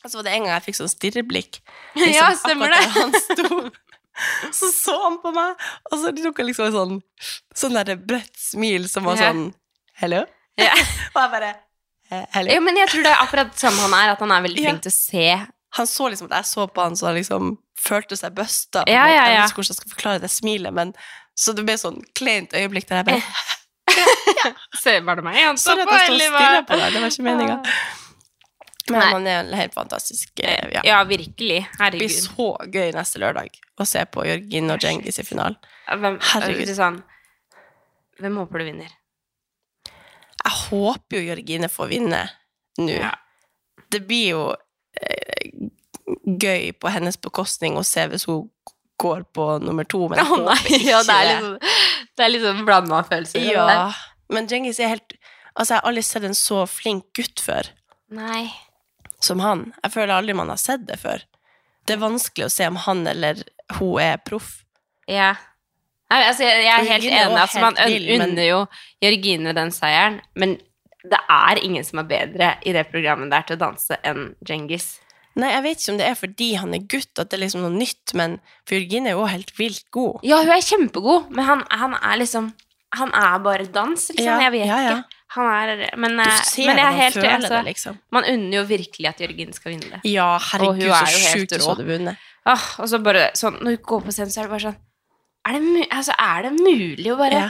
Speaker 3: og så var det en gang jeg fikk sånn stirreblikk.
Speaker 4: <laughs>
Speaker 3: Liksom,
Speaker 4: Ja, stemmer
Speaker 3: akkurat der Han sto, <laughs> så så han på meg, og så tok han liksom sånn, sånn der bredt smil som var
Speaker 4: Ja.
Speaker 3: sånn Hello?
Speaker 4: Ja.
Speaker 3: <laughs> Og jeg bare eh, Hello?
Speaker 4: Jo, men jeg tror det er akkurat sånn han er, at han er veldig
Speaker 3: Ja.
Speaker 4: flink til å se
Speaker 3: Han så liksom at jeg så på han, så han liksom følte seg busta. på en
Speaker 4: Ja,
Speaker 3: måte.
Speaker 4: ja,
Speaker 3: Jeg
Speaker 4: ja.
Speaker 3: vet ikke hvordan jeg skal forklare det smilet, men så det ble sånn kleint øyeblikk der jeg bare
Speaker 4: Se, var det meg han Eh, så
Speaker 3: Sorry at
Speaker 4: på,
Speaker 3: jeg står og
Speaker 4: eller
Speaker 3: stirrer på
Speaker 4: hva?
Speaker 3: deg, det var ikke meninga.
Speaker 4: <laughs>
Speaker 3: Men
Speaker 4: Ah. Nei.
Speaker 3: han er en helt fantastisk. eh, Ja.
Speaker 4: Ja, virkelig.
Speaker 3: Det blir
Speaker 4: Herregud.
Speaker 3: så gøy neste lørdag å se på Jørgin og Djengis i finalen.
Speaker 4: Hvem,
Speaker 3: Herregud.
Speaker 4: Herregud. Sånn, hvem håper du vinner?
Speaker 3: Jeg håper jo Jørgine får vinne nå.
Speaker 4: Ja.
Speaker 3: Det blir jo eh, gøy på hennes bekostning å se hvis hun går på nummer to, men jeg
Speaker 4: Å nei,
Speaker 3: håper ikke
Speaker 4: <laughs> ja, det er liksom, det er liksom blanda følelser.
Speaker 3: det. Ja. Men Djengis er helt Altså, jeg har aldri sett en så flink gutt før
Speaker 4: Nei.
Speaker 3: som han. Jeg føler aldri man har sett det før. Det er vanskelig å se om han eller hun er proff.
Speaker 4: Ja. Nei, altså, jeg, jeg er helt
Speaker 3: Jørgine
Speaker 4: enig.
Speaker 3: var
Speaker 4: Altså, man
Speaker 3: helt
Speaker 4: un-
Speaker 3: vill, men-
Speaker 4: unner jo Jørgine den seieren, men det er ingen som er bedre i det programmet der til å danse enn Djengis.
Speaker 3: Nei, jeg vet ikke om det er fordi han er gutt, at det er liksom noe nytt, men for Jørgine er jo helt vilt god.
Speaker 4: Ja, hun er kjempegod, men han, han er liksom Han er bare dans, liksom.
Speaker 3: Ja,
Speaker 4: jeg vet
Speaker 3: ja, ja.
Speaker 4: ikke. Han er Men,
Speaker 3: Du
Speaker 4: eh,
Speaker 3: ser
Speaker 4: men jeg
Speaker 3: det,
Speaker 4: er
Speaker 3: man
Speaker 4: helt
Speaker 3: føler
Speaker 4: altså,
Speaker 3: det, liksom.
Speaker 4: Man unner jo virkelig at Jørgine skal vinne det.
Speaker 3: Ja,
Speaker 4: Og hun
Speaker 3: herregud,
Speaker 4: er
Speaker 3: så
Speaker 4: jo helt
Speaker 3: sjukt hun
Speaker 4: rå.
Speaker 3: hadde vunnet.
Speaker 4: Åh, og så bare sånn, Når hun går på scenen, så er det bare sånn Er det, mu altså, er det mulig å bare
Speaker 3: Ja.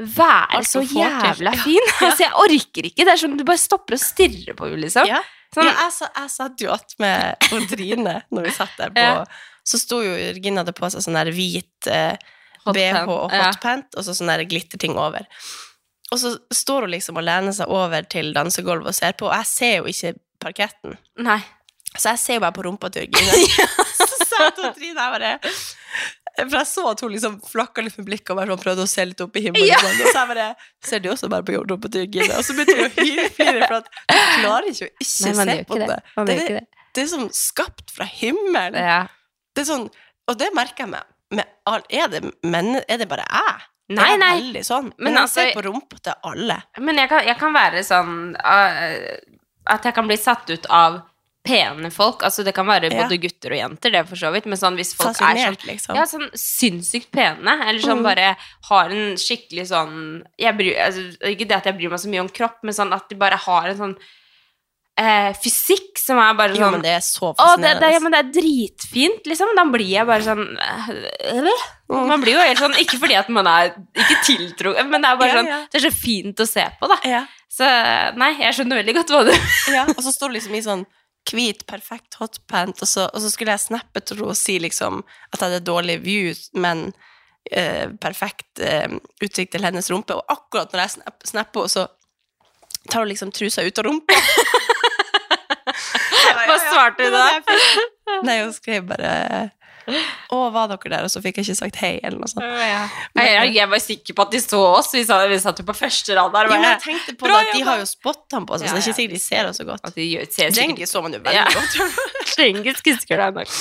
Speaker 4: være
Speaker 3: Alt
Speaker 4: Altså, så
Speaker 3: hun får til.
Speaker 4: jævla fin? Altså, jeg orker ikke. Det er sånn Du bare stopper og stirrer på henne, liksom.
Speaker 3: Ja.
Speaker 4: Sånn,
Speaker 3: ja, jeg, sa- jeg satt jo att med Odrine når vi satt der på
Speaker 4: <laughs> Ja.
Speaker 3: Så sto jo Jørgine hadde på seg sånn der hvit eh,
Speaker 4: Hotpant,
Speaker 3: BH og
Speaker 4: ja.
Speaker 3: hotpant, og så sånn der glitterting over. Og så står hun liksom og lener seg over til dansegulvet og ser på, og jeg ser jo ikke parketten.
Speaker 4: Nei.
Speaker 3: Så jeg ser jo bare på rumpa til
Speaker 4: <laughs>
Speaker 3: Jørgine. så satt Odrine her bare For jeg så at hun liksom flakka litt med blikket og bare sånn prøvde å se litt opp i himmelen. Og sånn. Og så jeg bare Ser du også bare på rumpa til Jørgine? Og så begynte hun å hylflire, for at du klarer ikke å ikke
Speaker 4: Nei, man
Speaker 3: se
Speaker 4: gjør
Speaker 3: på
Speaker 4: ikke det.
Speaker 3: det.
Speaker 4: Man
Speaker 3: Det
Speaker 4: gjør
Speaker 3: er-
Speaker 4: ikke det.
Speaker 3: det er som skapt fra himmelen.
Speaker 4: Ja.
Speaker 3: Det er sånn, og det merker jeg meg. Med all, er, det, men, er det bare jeg?
Speaker 4: Nei,
Speaker 3: er jeg
Speaker 4: nei.
Speaker 3: veldig sånn?
Speaker 4: Men
Speaker 3: Men jeg
Speaker 4: altså-
Speaker 3: ser på rumpa til alle.
Speaker 4: Men jeg kan, jeg kan være sånn eh, At jeg kan bli satt ut av pene folk. Altså Det kan være
Speaker 3: Ja.
Speaker 4: både gutter og jenter, det for så vidt. Men sånn hvis folk er sånn
Speaker 3: Fascinert, liksom.
Speaker 4: ja, sånn sinnssykt pene, eller sånn bare har en skikkelig sånn jeg bryr, altså, Ikke det at jeg bryr meg så mye om kropp, men sånn at de bare har en sånn eh, fysikk som er bare
Speaker 3: Jo,
Speaker 4: sånn
Speaker 3: men det er så
Speaker 4: å, det, det,
Speaker 3: fascinerende.
Speaker 4: ja, men det er dritfint, liksom. Da blir jeg bare sånn øh, øh. Man blir jo helt sånn Ikke fordi at man er ikke tiltro, men det er bare
Speaker 3: Ja,
Speaker 4: sånn
Speaker 3: ja.
Speaker 4: Det er så fint å se på, da.
Speaker 3: Ja,
Speaker 4: Så nei, jeg skjønner veldig godt hva du <laughs>
Speaker 3: ja. Og så står det liksom i sånn hvit, perfekt hotpant, og så, og så skulle jeg snappe til henne og si liksom at jeg hadde dårlig view, men eh, perfekt eh, utsikt til hennes rumpe. Og akkurat når jeg snap- snapper henne, så tar hun liksom trusa ut av <laughs> rumpa.
Speaker 4: Hva svarte du da?
Speaker 3: Nei, hun skrev bare Å, var dere der? Og så fikk jeg ikke sagt hei, eller noe sånt.
Speaker 4: Nei, Jeg, jeg var sikker på at de så oss. Vi, sa, vi satt jo på første rad der.
Speaker 3: Jo, men jeg
Speaker 4: bare-
Speaker 3: tenkte på det,
Speaker 4: Bra
Speaker 3: at de
Speaker 4: jobba.
Speaker 3: har jo spotta på oss,
Speaker 4: Ja,
Speaker 3: så det er
Speaker 4: ja.
Speaker 3: ikke sikkert de ser oss så godt.
Speaker 4: At de gjør- ser sikkert
Speaker 3: Djengis så man jo veldig
Speaker 4: Ja.
Speaker 3: godt. <laughs>
Speaker 4: Djengis husker deg nok.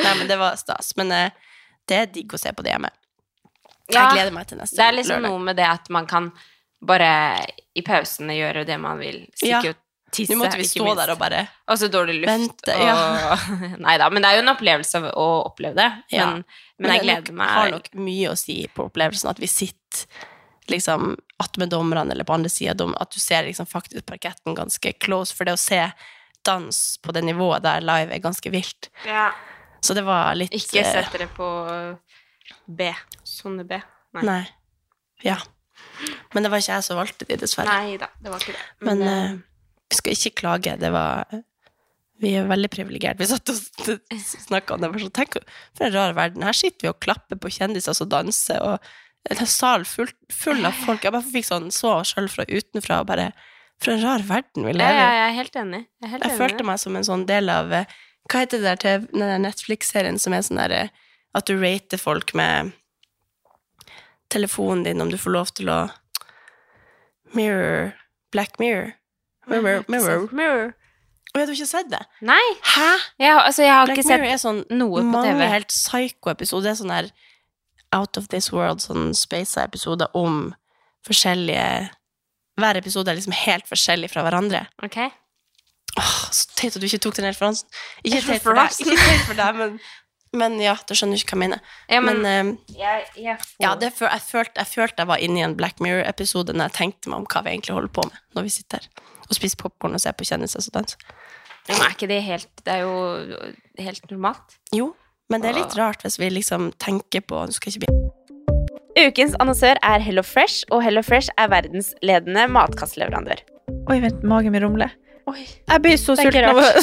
Speaker 3: Nei, men det var stas. Men eh, det er digg å se på det hjemme.
Speaker 4: Ja,
Speaker 3: Jeg gleder meg til neste
Speaker 4: Det er liksom
Speaker 3: lørdag.
Speaker 4: noe med det at man kan bare i pausene gjøre det man vil.
Speaker 3: Ja.
Speaker 4: Stikke og tisse.
Speaker 3: Nå måtte vi
Speaker 4: ikke
Speaker 3: stå
Speaker 4: minst.
Speaker 3: der og bare
Speaker 4: Og så Altså, dårlig luft.
Speaker 3: Vente, ja.
Speaker 4: og... <laughs> Nei da, men det er jo en opplevelse av å oppleve det.
Speaker 3: Ja.
Speaker 4: Men, men
Speaker 3: det
Speaker 4: jeg
Speaker 3: nok-
Speaker 4: gleder meg.
Speaker 3: har nok mye å si på opplevelsen at vi sitter liksom attmed dommerne eller på andre sida av dom- at du ser liksom faktisk parketten ganske close, for det å se dans på det nivået der live er ganske vilt.
Speaker 4: Ja.
Speaker 3: Så det var litt
Speaker 4: Ikke
Speaker 3: eh,
Speaker 4: sett dere på B. Sone B. Nei.
Speaker 3: Nei. Ja. Men det var ikke jeg som valgte de, dessverre.
Speaker 4: Nei da, det var ikke det.
Speaker 3: Men eh, vi skal ikke klage. Det var Vi er veldig privilegerte. Vi satt og snakka om det. Var sånn, tenk for en rar verden. Her sitter vi og klapper på kjendiser som danser, og en sal full, full av folk. Jeg bare fikk sånn så sjøl fra utenfra og bare For en rar verden vi
Speaker 4: ja, ja,
Speaker 3: lever i.
Speaker 4: jeg er helt enig. Jeg, er helt
Speaker 3: Jeg
Speaker 4: enig.
Speaker 3: følte meg som en sånn del av eh, Hva heter det der til den der Netflix-serien som er sånn der eh, at du rater folk med telefonen din om du får lov til å Mirror Black Mirror. Mirror, mirror.
Speaker 4: Mirror.
Speaker 3: Å, jeg har ikke sett det.
Speaker 4: Nei,
Speaker 3: Hæ?
Speaker 4: jeg, har- altså, jeg har
Speaker 3: Black
Speaker 4: ikke sett
Speaker 3: Mirror er sånn
Speaker 4: noe på
Speaker 3: mange
Speaker 4: TV.
Speaker 3: helt psycho-episoder. Det er sånn her Out of This World, sånn space-episoder om forskjellige Hver episode er liksom helt forskjellig fra hverandre.
Speaker 4: Ok.
Speaker 3: Åh, så teit at du ikke tok den referansen. Ikke
Speaker 4: Jeg
Speaker 3: teit for deg,
Speaker 4: referansen.
Speaker 3: ikke teit for deg men, men ja, du skjønner ikke hva jeg mener.
Speaker 4: Ja, men,
Speaker 3: Men, eh,
Speaker 4: jeg, jeg får...
Speaker 3: ja, det, føl- jeg, følte, jeg følte jeg var inne i en Black Mirror-episode når jeg tenkte meg om hva vi egentlig holder på med når vi sitter her og spiser popkorn og ser på kjendiser som danser.
Speaker 4: Men er ikke det helt Det er jo helt normalt.
Speaker 3: Jo, men det er litt rart hvis vi liksom tenker på Du skal ikke bli
Speaker 5: Ukens annonsør er Hello Fresh, og Hello Fresh er verdensledende matkastleverandør.
Speaker 6: Oi, vent, magen min rumler.
Speaker 5: Oi.
Speaker 6: Jeg blir så
Speaker 5: Det er ikke
Speaker 6: sulten av å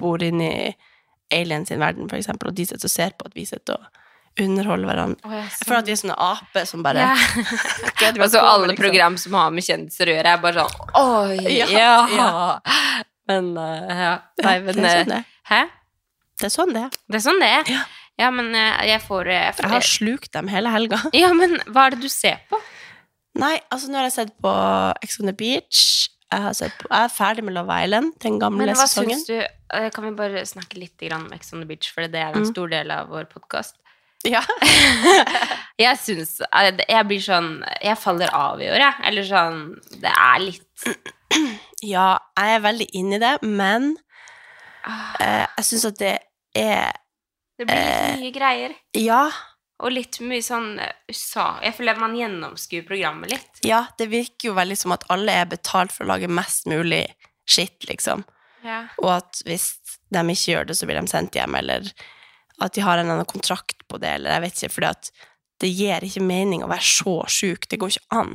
Speaker 3: bor inne i aliens sin verden, for eksempel, og de sitter og ser på at vi sitter og underholder hverandre.
Speaker 4: Å, ja,
Speaker 3: Jeg føler at vi er sånne aper som bare
Speaker 4: <laughs> Ja.
Speaker 3: Gud, vi
Speaker 4: Altså,
Speaker 3: kommer,
Speaker 4: alle
Speaker 3: liksom.
Speaker 4: program som har med kjendiser å gjøre, er bare sånn Oi,
Speaker 3: Ja,
Speaker 4: ja. Men eh, ja. Nei,
Speaker 3: Det
Speaker 4: men
Speaker 3: er sånn
Speaker 4: eh,
Speaker 3: det er.
Speaker 4: Hæ?
Speaker 3: Det er sånn det er.
Speaker 4: Det er sånn det er. Ja, men eh, jeg får, eh, jeg får
Speaker 3: Jeg har slukt dem hele helga.
Speaker 4: Ja, men hva er det du ser på?
Speaker 3: <laughs> Nei, altså nå har jeg sett på Ex on the Beach. Jeg, har sett på, jeg er ferdig med Love Island, den gamle
Speaker 4: Men hva
Speaker 3: sesongen.
Speaker 4: syns du eh, Kan vi bare snakke litt grann om Ex on the Beach, for det er en
Speaker 3: Mm.
Speaker 4: stor del av vår podkast.
Speaker 3: Ja.
Speaker 4: jeg syns Jeg blir sånn Jeg faller av i år, jeg. Eller sånn Det er litt
Speaker 3: <laughs> ja, jeg er veldig inne i det, men
Speaker 4: ah,
Speaker 3: eh, jeg syns at det er
Speaker 4: Det blir
Speaker 3: Eh.
Speaker 4: litt mye greier.
Speaker 3: Ja,
Speaker 4: Og litt mye sånn eh, USA Jeg føler at man gjennomskuer programmet litt.
Speaker 3: ja, det virker jo veldig som at alle er betalt for å lage mest mulig skitt, liksom.
Speaker 4: Ja.
Speaker 3: Og at hvis de ikke gjør det, så blir de sendt hjem, eller at de har en eller annen kontrakt på det, eller jeg vet ikke, fordi at det gir ikke mening å være så sjuk. Det går ikke an.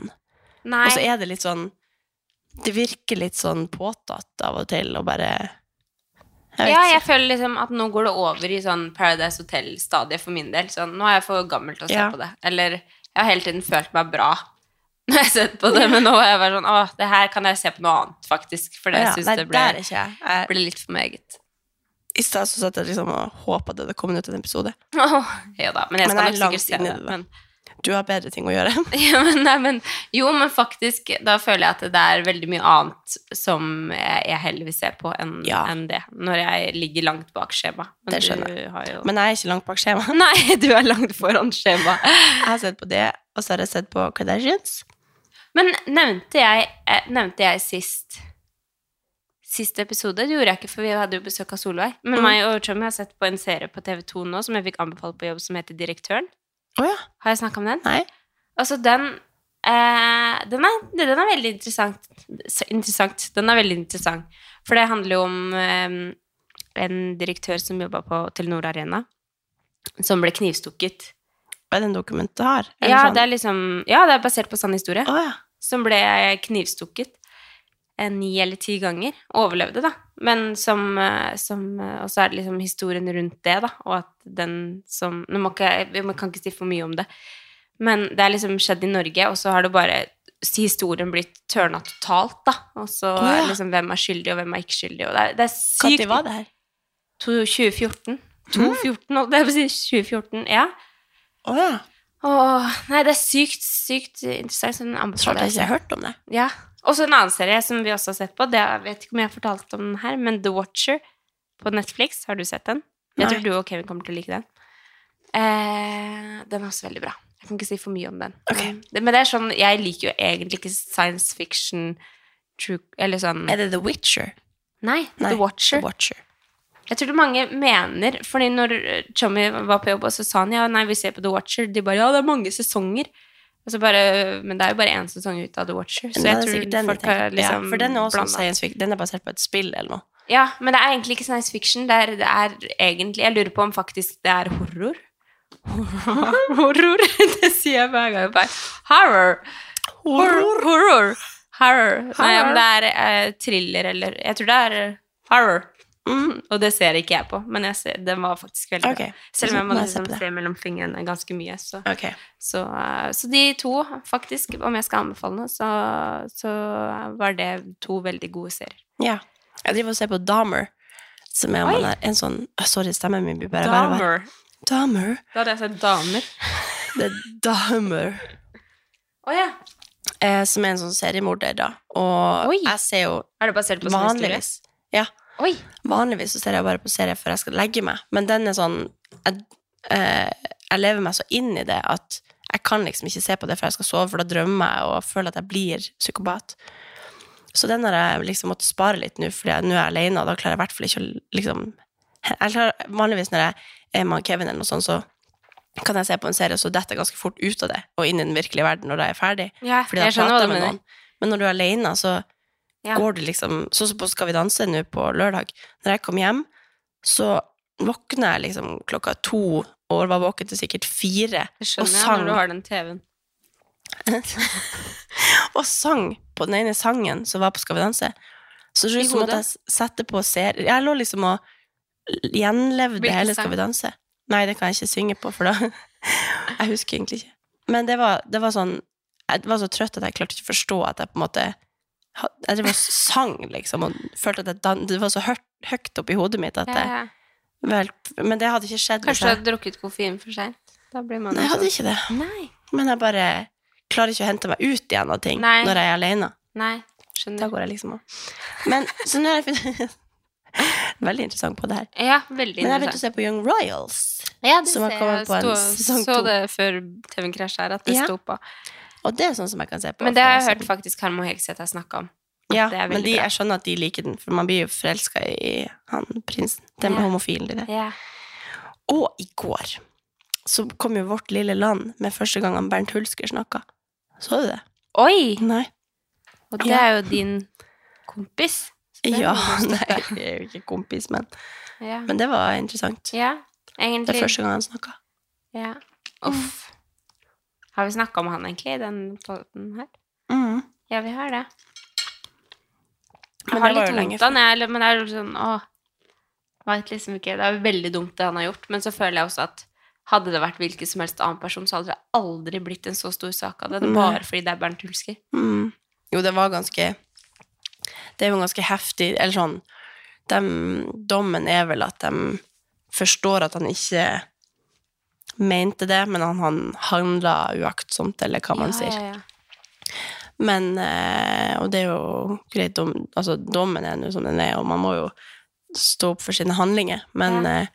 Speaker 4: Nei.
Speaker 3: Og så er det litt sånn Det virker litt sånn påtatt av og til, og bare Jeg vet
Speaker 4: ja, jeg
Speaker 3: ikke.
Speaker 4: føler liksom at nå går det over i sånn Paradise Hotel-stadiet for min del. Sånn, nå er jeg for gammel til å se
Speaker 3: Ja.
Speaker 4: på det. Eller jeg har hele tiden følt meg bra <laughs> når jeg har sett på det, men nå er jeg bare sånn Åh, det her kan jeg se på noe annet, faktisk. For det
Speaker 3: Ja,
Speaker 4: syns
Speaker 3: nei,
Speaker 4: det
Speaker 3: der er
Speaker 4: ble,
Speaker 3: ikke jeg. jeg.
Speaker 4: ble litt for meget. <laughs>
Speaker 3: I stad så satt jeg liksom og håpa det hadde kommet ut en episode.
Speaker 4: Åh, ja da, men jeg
Speaker 3: Men
Speaker 4: skal
Speaker 3: jeg er
Speaker 4: nok
Speaker 3: langt
Speaker 4: sikkert se
Speaker 3: inn i
Speaker 4: det.
Speaker 3: det, da.
Speaker 4: Men,
Speaker 3: Du har bedre ting å gjøre. <laughs>
Speaker 4: <laughs> ja, men, nei, men, jo, men faktisk, da føler jeg at det er veldig mye annet som jeg jeg heller vil se på enn
Speaker 3: Ja.
Speaker 4: enn det. Når jeg ligger langt bak skjema. Men
Speaker 3: Det skjønner
Speaker 4: jeg. Har jo...
Speaker 3: Men jeg er ikke langt bak skjemaet.
Speaker 4: <laughs> Nei, du er langt foran skjema.
Speaker 3: Jeg har sett på det, og så har jeg sett på Kardashians.
Speaker 4: Men nevnte jeg, eh, nevnte jeg sist Sist episode? Det gjorde jeg ikke, for vi hadde jo besøk av Solveig. Men
Speaker 3: Mm.
Speaker 4: meg og Tommy har sett på en serie på TV2 nå som jeg fikk anbefalt på jobb, som heter Direktøren.
Speaker 3: Å ja.
Speaker 4: Har jeg snakka om den?
Speaker 3: Nei.
Speaker 4: Altså, den eh, den, er, den er veldig interessant. Så interessant. Den er veldig interessant. For det handler jo om eh, en direktør som jobba på Telenor Arena, som ble knivstukket.
Speaker 3: Er det en dokumentar? Eller
Speaker 4: Ja,
Speaker 3: sånn?
Speaker 4: det er liksom Ja, det er basert på sann historie
Speaker 3: Å ja.
Speaker 4: som ble knivstukket eh, ni eller ti ganger. Overlevde, da. Men som, eh, som eh, Og så er det liksom historien rundt det, da, og at den som Nå må ikke jeg- Man kan ikke si for mye om det, men det er liksom skjedd i Norge, og så har det bare historien blitt tørna totalt, da. Og så
Speaker 3: Å, ja.
Speaker 4: er liksom hvem er skyldig, og hvem er ikke skyldig, og det er, det er sykt
Speaker 3: Når var det her? Mm.
Speaker 4: to- 2014. 2014, holdt jeg på å si. 2014, ja. Åh, nei, det er sykt, sykt interessant. Så den
Speaker 3: Svarte
Speaker 4: anbefaler
Speaker 3: jeg ikke jeg har hørt om det.
Speaker 4: Ja. Og så en annen serie som vi også har sett på, det er, jeg vet ikke om jeg har fortalt om den her, men The Watcher på Netflix. Har du sett den? Jeg
Speaker 3: Nei.
Speaker 4: tror du og Kevin kommer til å like den. Eh, den er også veldig bra. Jeg kan ikke si for mye om den. Men det- Men det er sånn, jeg liker jo egentlig ikke science fiction, true, eller sånn...
Speaker 3: Er det The Witcher?
Speaker 4: Nei, The Watcher. Jeg tror det mange mener, fordi når eh, Tommy var på jobb, og så sa han ja, nei, vi ser på The Watcher, de bare ja, det er mange sesonger. Og så bare, men det er jo bare én sesong ut av The Watcher, så
Speaker 3: Nei, det
Speaker 4: jeg
Speaker 3: er
Speaker 4: tror
Speaker 3: sikkert den
Speaker 4: folk
Speaker 3: jeg tenker
Speaker 4: har
Speaker 3: på.
Speaker 4: liksom
Speaker 3: ja, For den er også
Speaker 4: blandet.
Speaker 3: science fiction. Den er basert på et spill eller noe.
Speaker 4: Ja, men det er egentlig ikke science fiction. Det er, det er egentlig Jeg lurer på om faktisk det er
Speaker 3: <laughs>
Speaker 4: horror. Horror! <laughs> Det sier jeg hver gang. jeg Bare. Horror. Horror. Horror. Horror. Nei,
Speaker 3: Horror.
Speaker 4: men det er eh, thriller eller Jeg tror det er eh, horror. Mm, og det ser ikke jeg på, men jeg ser, den var faktisk veldig
Speaker 3: Ok.
Speaker 4: bra. Selv om jeg må
Speaker 3: Må jeg se
Speaker 4: liksom
Speaker 3: på det?
Speaker 4: se mellom fingrene ganske mye. Så, så, eh, så de to, faktisk, om jeg skal anbefale noe, så, så var det to veldig gode serier.
Speaker 3: Ja. Jeg driver og ser på Dahmer, som er om
Speaker 4: Oi.
Speaker 3: han er en sånn Åh, Sorry, stemmen min blir bare verre. og verre.
Speaker 4: Damer.
Speaker 3: Dahmer.
Speaker 4: Da hadde jeg sagt damer.
Speaker 3: Det er Dahmer.
Speaker 4: Å ja.
Speaker 3: Eh, som er en sånn seriemorder, da. Og jeg ser jo
Speaker 4: Er det basert på sånn historie?
Speaker 3: vanligvis Ja. Vanligvis så ser jeg bare på serier før jeg skal legge meg, men den er sånn jeg, eh, jeg lever meg så inn i det at jeg kan liksom ikke se på det før jeg skal sove, for da drømmer jeg og føler at jeg blir psykopat. Så den har jeg liksom måttet spare litt nå, fordi jeg, nå er jeg alene, og da klarer jeg i hvert fall ikke å liksom jeg klarer, Vanligvis når jeg er med han Kevin eller noe sånt, så kan jeg se på en serie, og så detter jeg ganske fort ut av det og inn i den virkelige verden når jeg er ferdig.
Speaker 4: Ja,
Speaker 3: fordi da
Speaker 4: jeg skjønner hva
Speaker 3: prater
Speaker 4: du
Speaker 3: jeg med
Speaker 4: mener.
Speaker 3: noen. Men når du er alene, så
Speaker 4: Ja.
Speaker 3: går du liksom Sånn som på Skal vi danse nå på lørdag. Når jeg kom hjem, så våkna jeg liksom klokka to og var våken til sikkert fire
Speaker 4: Det
Speaker 3: og
Speaker 4: skjønner jeg
Speaker 3: sang,
Speaker 4: når du har den TV-en.
Speaker 3: og sang på den ene sangen som var på Skal vi danse. Så
Speaker 4: I
Speaker 3: til slutt så måtte
Speaker 4: hodet?
Speaker 3: jeg s- sette på serie Jeg lå liksom og l- gjenlevde
Speaker 4: Hvilken
Speaker 3: hele
Speaker 4: sang?
Speaker 3: Skal vi danse. Nei, det kan jeg ikke synge på, for da <laughs> Jeg husker egentlig ikke. Men det var, det var sånn Jeg var så trøtt at jeg klarte ikke å forstå at jeg på en måte ha- Jeg drev og sang, liksom, og følte at jeg dan det var så hørt, høyt oppi hodet mitt at jeg
Speaker 4: Ja, ja.
Speaker 3: vel, Men det hadde ikke skjedd. hvis
Speaker 4: Kanskje du
Speaker 3: jeg-
Speaker 4: har drukket koffein for seint? Da blir man
Speaker 3: Nei, jeg
Speaker 4: jo
Speaker 3: hadde
Speaker 4: sånn.
Speaker 3: ikke det.
Speaker 4: Nei.
Speaker 3: Men jeg bare klarer ikke å hente meg ut igjen av ting
Speaker 4: Nei.
Speaker 3: når jeg er alene.
Speaker 4: Nei. Skjønner.
Speaker 3: Da går jeg liksom av. Men så nå har jeg funnet <laughs> Veldig interessant på det her.
Speaker 4: Ja, veldig
Speaker 3: Men jeg begynte å se
Speaker 4: interessant.
Speaker 3: på Young Royals.
Speaker 4: Ja, det
Speaker 3: som har
Speaker 4: ser
Speaker 3: kommet
Speaker 4: jeg.
Speaker 3: på en
Speaker 4: Stå,
Speaker 3: sesong
Speaker 4: så
Speaker 3: to.
Speaker 4: det før TV-en krasja her, at det
Speaker 3: Ja.
Speaker 4: sto på.
Speaker 3: Og det er sånn som jeg kan se på.
Speaker 4: Men det har jeg
Speaker 3: ofte,
Speaker 4: hørt faktisk Harmo Hegseth har snakka om.
Speaker 3: altså. Ja,
Speaker 4: det er veldig
Speaker 3: men de,
Speaker 4: bra.
Speaker 3: jeg skjønner at de liker den, for man blir jo forelska i han prinsen. Den
Speaker 4: Ja.
Speaker 3: homofilen i det.
Speaker 4: Ja.
Speaker 3: Og i går så kom jo Vårt lille land med første gang han Bernt Hulsker snakka. Så du det?
Speaker 4: Oi!
Speaker 3: Nei.
Speaker 4: Og det
Speaker 3: Ja.
Speaker 4: er jo din kompis. Så det er
Speaker 3: Ja, <laughs>
Speaker 4: jo <laughs>
Speaker 3: nei,
Speaker 4: godt å
Speaker 3: jeg er jo ikke kompis, men
Speaker 4: støtte. Ja.
Speaker 3: Men det var interessant.
Speaker 4: ja.
Speaker 3: Det er
Speaker 4: Egentlig.
Speaker 3: første gang han snakka.
Speaker 4: Ja. Uff. Har vi snakka om han egentlig i den podden her?
Speaker 3: Mm.
Speaker 4: Ja, vi har det. Jeg
Speaker 3: Men
Speaker 4: har
Speaker 3: det var
Speaker 4: litt
Speaker 3: jo lenge
Speaker 4: vondt av han, jeg, eller- men det er jo sånn Åh. Vet liksom ikke. Det er jo veldig dumt, det han har gjort. Men så føler jeg også at hadde det vært hvilken som helst annen person, så hadde det aldri blitt en så stor sak av det. Det er
Speaker 3: Nei.
Speaker 4: bare fordi det er Bernt Hulsker.
Speaker 3: Mm. Jo, det var ganske Det er jo ganske heftig, eller sånn dem- Dommen er vel at de forstår at han ikke mente det, men han, han handla uaktsomt, eller hva man sier.
Speaker 4: Ja, ja, ja.
Speaker 3: Men eh, Og det er jo greit, dom, altså, dommen er nå som den er, og man må jo stå opp for sine handlinger, men
Speaker 4: Ja.
Speaker 3: ja,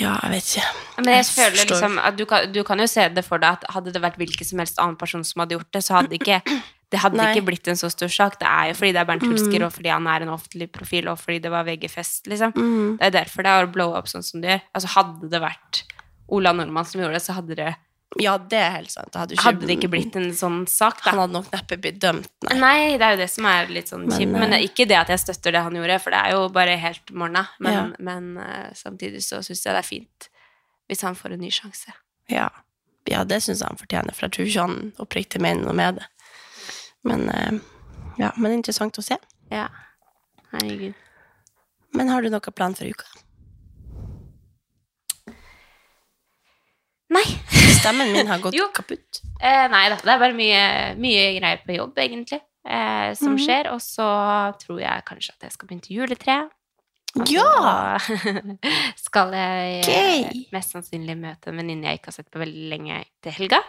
Speaker 3: ja jeg vet ikke.
Speaker 4: Men jeg føler
Speaker 3: forstår.
Speaker 4: liksom at du kan, du kan jo se det for deg at hadde det vært hvilken som helst annen person som hadde gjort det, så hadde ikke det hadde
Speaker 3: Nei. Mm.
Speaker 4: ikke blitt en så stor sak. Det er jo fordi det er Bernt Hulsker, og fordi han er en offentlig profil, og fordi det var VG-fest, liksom.
Speaker 3: Mm.
Speaker 4: Det er derfor det er å blow up sånn som det gjør. Altså, hadde det vært Ola Nordmann som gjorde det, så hadde det,
Speaker 3: Ja, det er helt sant. Det hadde, jo
Speaker 4: hadde det ikke blitt en sånn sak, da.
Speaker 3: Han hadde nok neppe blitt dømt, nei.
Speaker 4: Nei, det er jo det som er litt sånn
Speaker 3: Men,
Speaker 4: kjipt. Men
Speaker 3: eh,
Speaker 4: ikke det at jeg støtter det han gjorde, for det er jo bare helt morna. Men,
Speaker 3: Ja.
Speaker 4: men eh, samtidig så syns jeg det er fint hvis han får en ny sjanse.
Speaker 3: Ja, ja det syns jeg han fortjener, for jeg tror ikke han oppriktig mener noe med det. Men, eh, ja, men interessant å se.
Speaker 4: Ja. Herregud.
Speaker 3: Men har du noen plan for uka?
Speaker 4: Nei.
Speaker 3: Stemmen min har gått
Speaker 4: Jo.
Speaker 3: kaputt.
Speaker 4: Eh, nei da. Det er bare mye, mye greier på
Speaker 3: Mhm.
Speaker 4: jobb, egentlig, eh, som skjer. Og <laughs> så tror jeg kanskje at jeg skal begynne til juletre.
Speaker 3: Ja!
Speaker 4: skal jeg eh, mest sannsynlig møte en venninne jeg ikke har sett på veldig lenge til helga.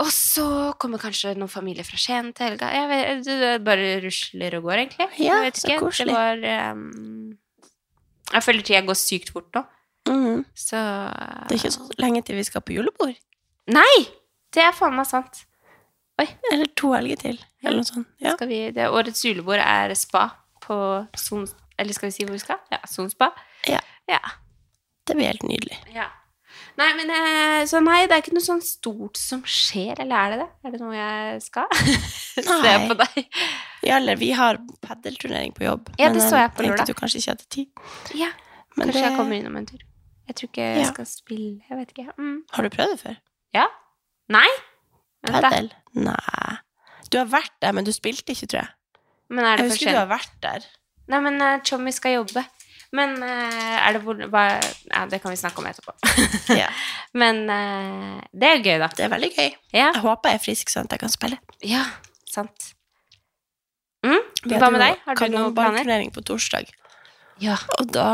Speaker 4: Og så kommer kanskje noen familie fra Skien til helga. Jeg vet, eh, det det bare rusler og går, egentlig.
Speaker 3: Ja,
Speaker 4: jeg vet
Speaker 3: så koselig.
Speaker 4: Det var ehm, Jeg føler tida går sykt fort nå. Så
Speaker 3: Mm, Det er ikke så lenge til vi skal på julebord.
Speaker 4: Nei! Det er faen meg sant. Oi.
Speaker 3: Eller to helger til, eller noe sånt. Ja.
Speaker 4: Skal vi, det, årets julebord er spa på Son... Eller skal vi si hvor vi skal? Ja, Son spa.
Speaker 3: Ja.
Speaker 4: ja.
Speaker 3: Det blir helt nydelig.
Speaker 4: Ja. Nei, men eh, så nei, det er ikke noe sånn stort som skjer, eller er det det? Er det noe jeg skal? <laughs> Se på deg.
Speaker 3: Ja, eller vi har paddelturnering på jobb.
Speaker 4: Ja, det så jeg på lørdag.
Speaker 3: tenkte du kanskje ikke hadde tid.
Speaker 4: Ja,
Speaker 3: Men
Speaker 4: kanskje
Speaker 3: det-
Speaker 4: jeg kommer innom en tur. Jeg tror ikke jeg
Speaker 3: Ja.
Speaker 4: skal spille, jeg vet ikke. Mm.
Speaker 3: Har du prøvd det før?
Speaker 4: Ja? Nei? Vent da.
Speaker 3: Paddel? Nei. Du har vært der, men du spilte ikke, tror jeg.
Speaker 4: Men er
Speaker 3: jeg
Speaker 4: det for
Speaker 3: husker du
Speaker 4: sent?
Speaker 3: har vært der.
Speaker 4: Nei, men eh, Tjommi skal jobbe. Men eh, er det hvor hva, ja, Det kan vi snakke om etterpå. <laughs> Men eh, det er gøy, da.
Speaker 3: Det er veldig gøy.
Speaker 4: Ja.
Speaker 3: Jeg håper jeg er frisk, sånn at jeg kan spille.
Speaker 4: Ja, sant. Mm? Hva med deg? Har du noen planer?
Speaker 3: Kanonballturnering på torsdag.
Speaker 4: Ja.
Speaker 3: Og da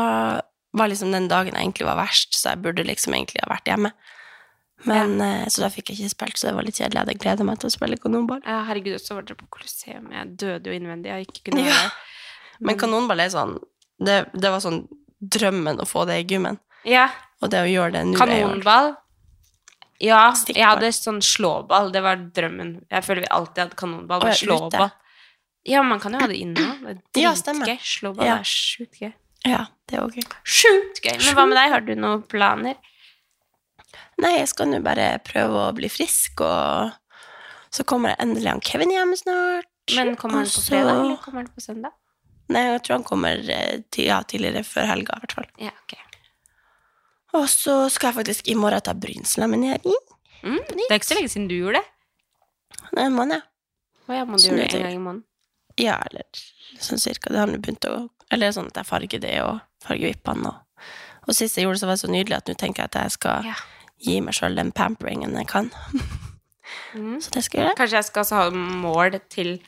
Speaker 3: var liksom den dagen jeg egentlig var verst, så jeg burde liksom egentlig ha vært hjemme. Men, eh, Så da fikk jeg ikke spilt, så det var litt kjedelig. Jeg hadde gleda meg til å spille kanonball.
Speaker 4: Ja, herregud, så var dere på Colosseum. Jeg døde jo innvendig. Jeg ikke kunne
Speaker 3: Ja.
Speaker 4: være der. Mm.
Speaker 3: Men kanonball er sånn det, det var sånn drømmen å få det i gymmen.
Speaker 4: Ja.
Speaker 3: Og det å gjøre det nå er jo
Speaker 4: Kanonball. Ja, jeg hadde sånn slåball. Det var drømmen. Jeg føler vi alltid hadde kanonball.
Speaker 3: Å,
Speaker 4: Men
Speaker 3: ja, ute.
Speaker 4: slåball Ja, man kan jo ha det inne òg. Det
Speaker 3: Ja,
Speaker 4: er
Speaker 3: stemmer.
Speaker 4: dritgøy. slåball
Speaker 3: Ja.
Speaker 4: er sjukt gøy.
Speaker 3: Ja, det er også gøy.
Speaker 4: Sjukt gøy. Men hva med deg? Har du noen planer?
Speaker 3: Nei, jeg skal nå bare prøve å bli frisk, og så kommer jeg endelig han Kevin hjem snart.
Speaker 4: Men kommer han på
Speaker 3: Altså-
Speaker 4: fredag, eller kommer han på søndag?
Speaker 3: Nei, jeg tror han kommer eh, ti- ja, tidligere, før helga, i hvert fall.
Speaker 4: Ja, ok.
Speaker 3: Og så skal jeg faktisk i morgen ta brynslaminering.
Speaker 4: Mm, det er ikke så lenge siden du gjorde det.
Speaker 3: Det er en måned.
Speaker 4: Å ja, må
Speaker 3: Så
Speaker 4: du
Speaker 3: nå
Speaker 4: gjøre det
Speaker 3: tenker-
Speaker 4: en gang i måneden?
Speaker 3: Ja, eller sånn cirka. Det har nå begynt å Eller sånn at jeg farger det, og farger vippene, og Og sist jeg gjorde det, så var det så nydelig at nå tenker jeg at jeg skal
Speaker 4: Ja.
Speaker 3: gi meg sjøl den pamperingen jeg kan.
Speaker 4: Mm.
Speaker 3: Så det skal jeg gjøre.
Speaker 4: Kanskje jeg skal også ha mål til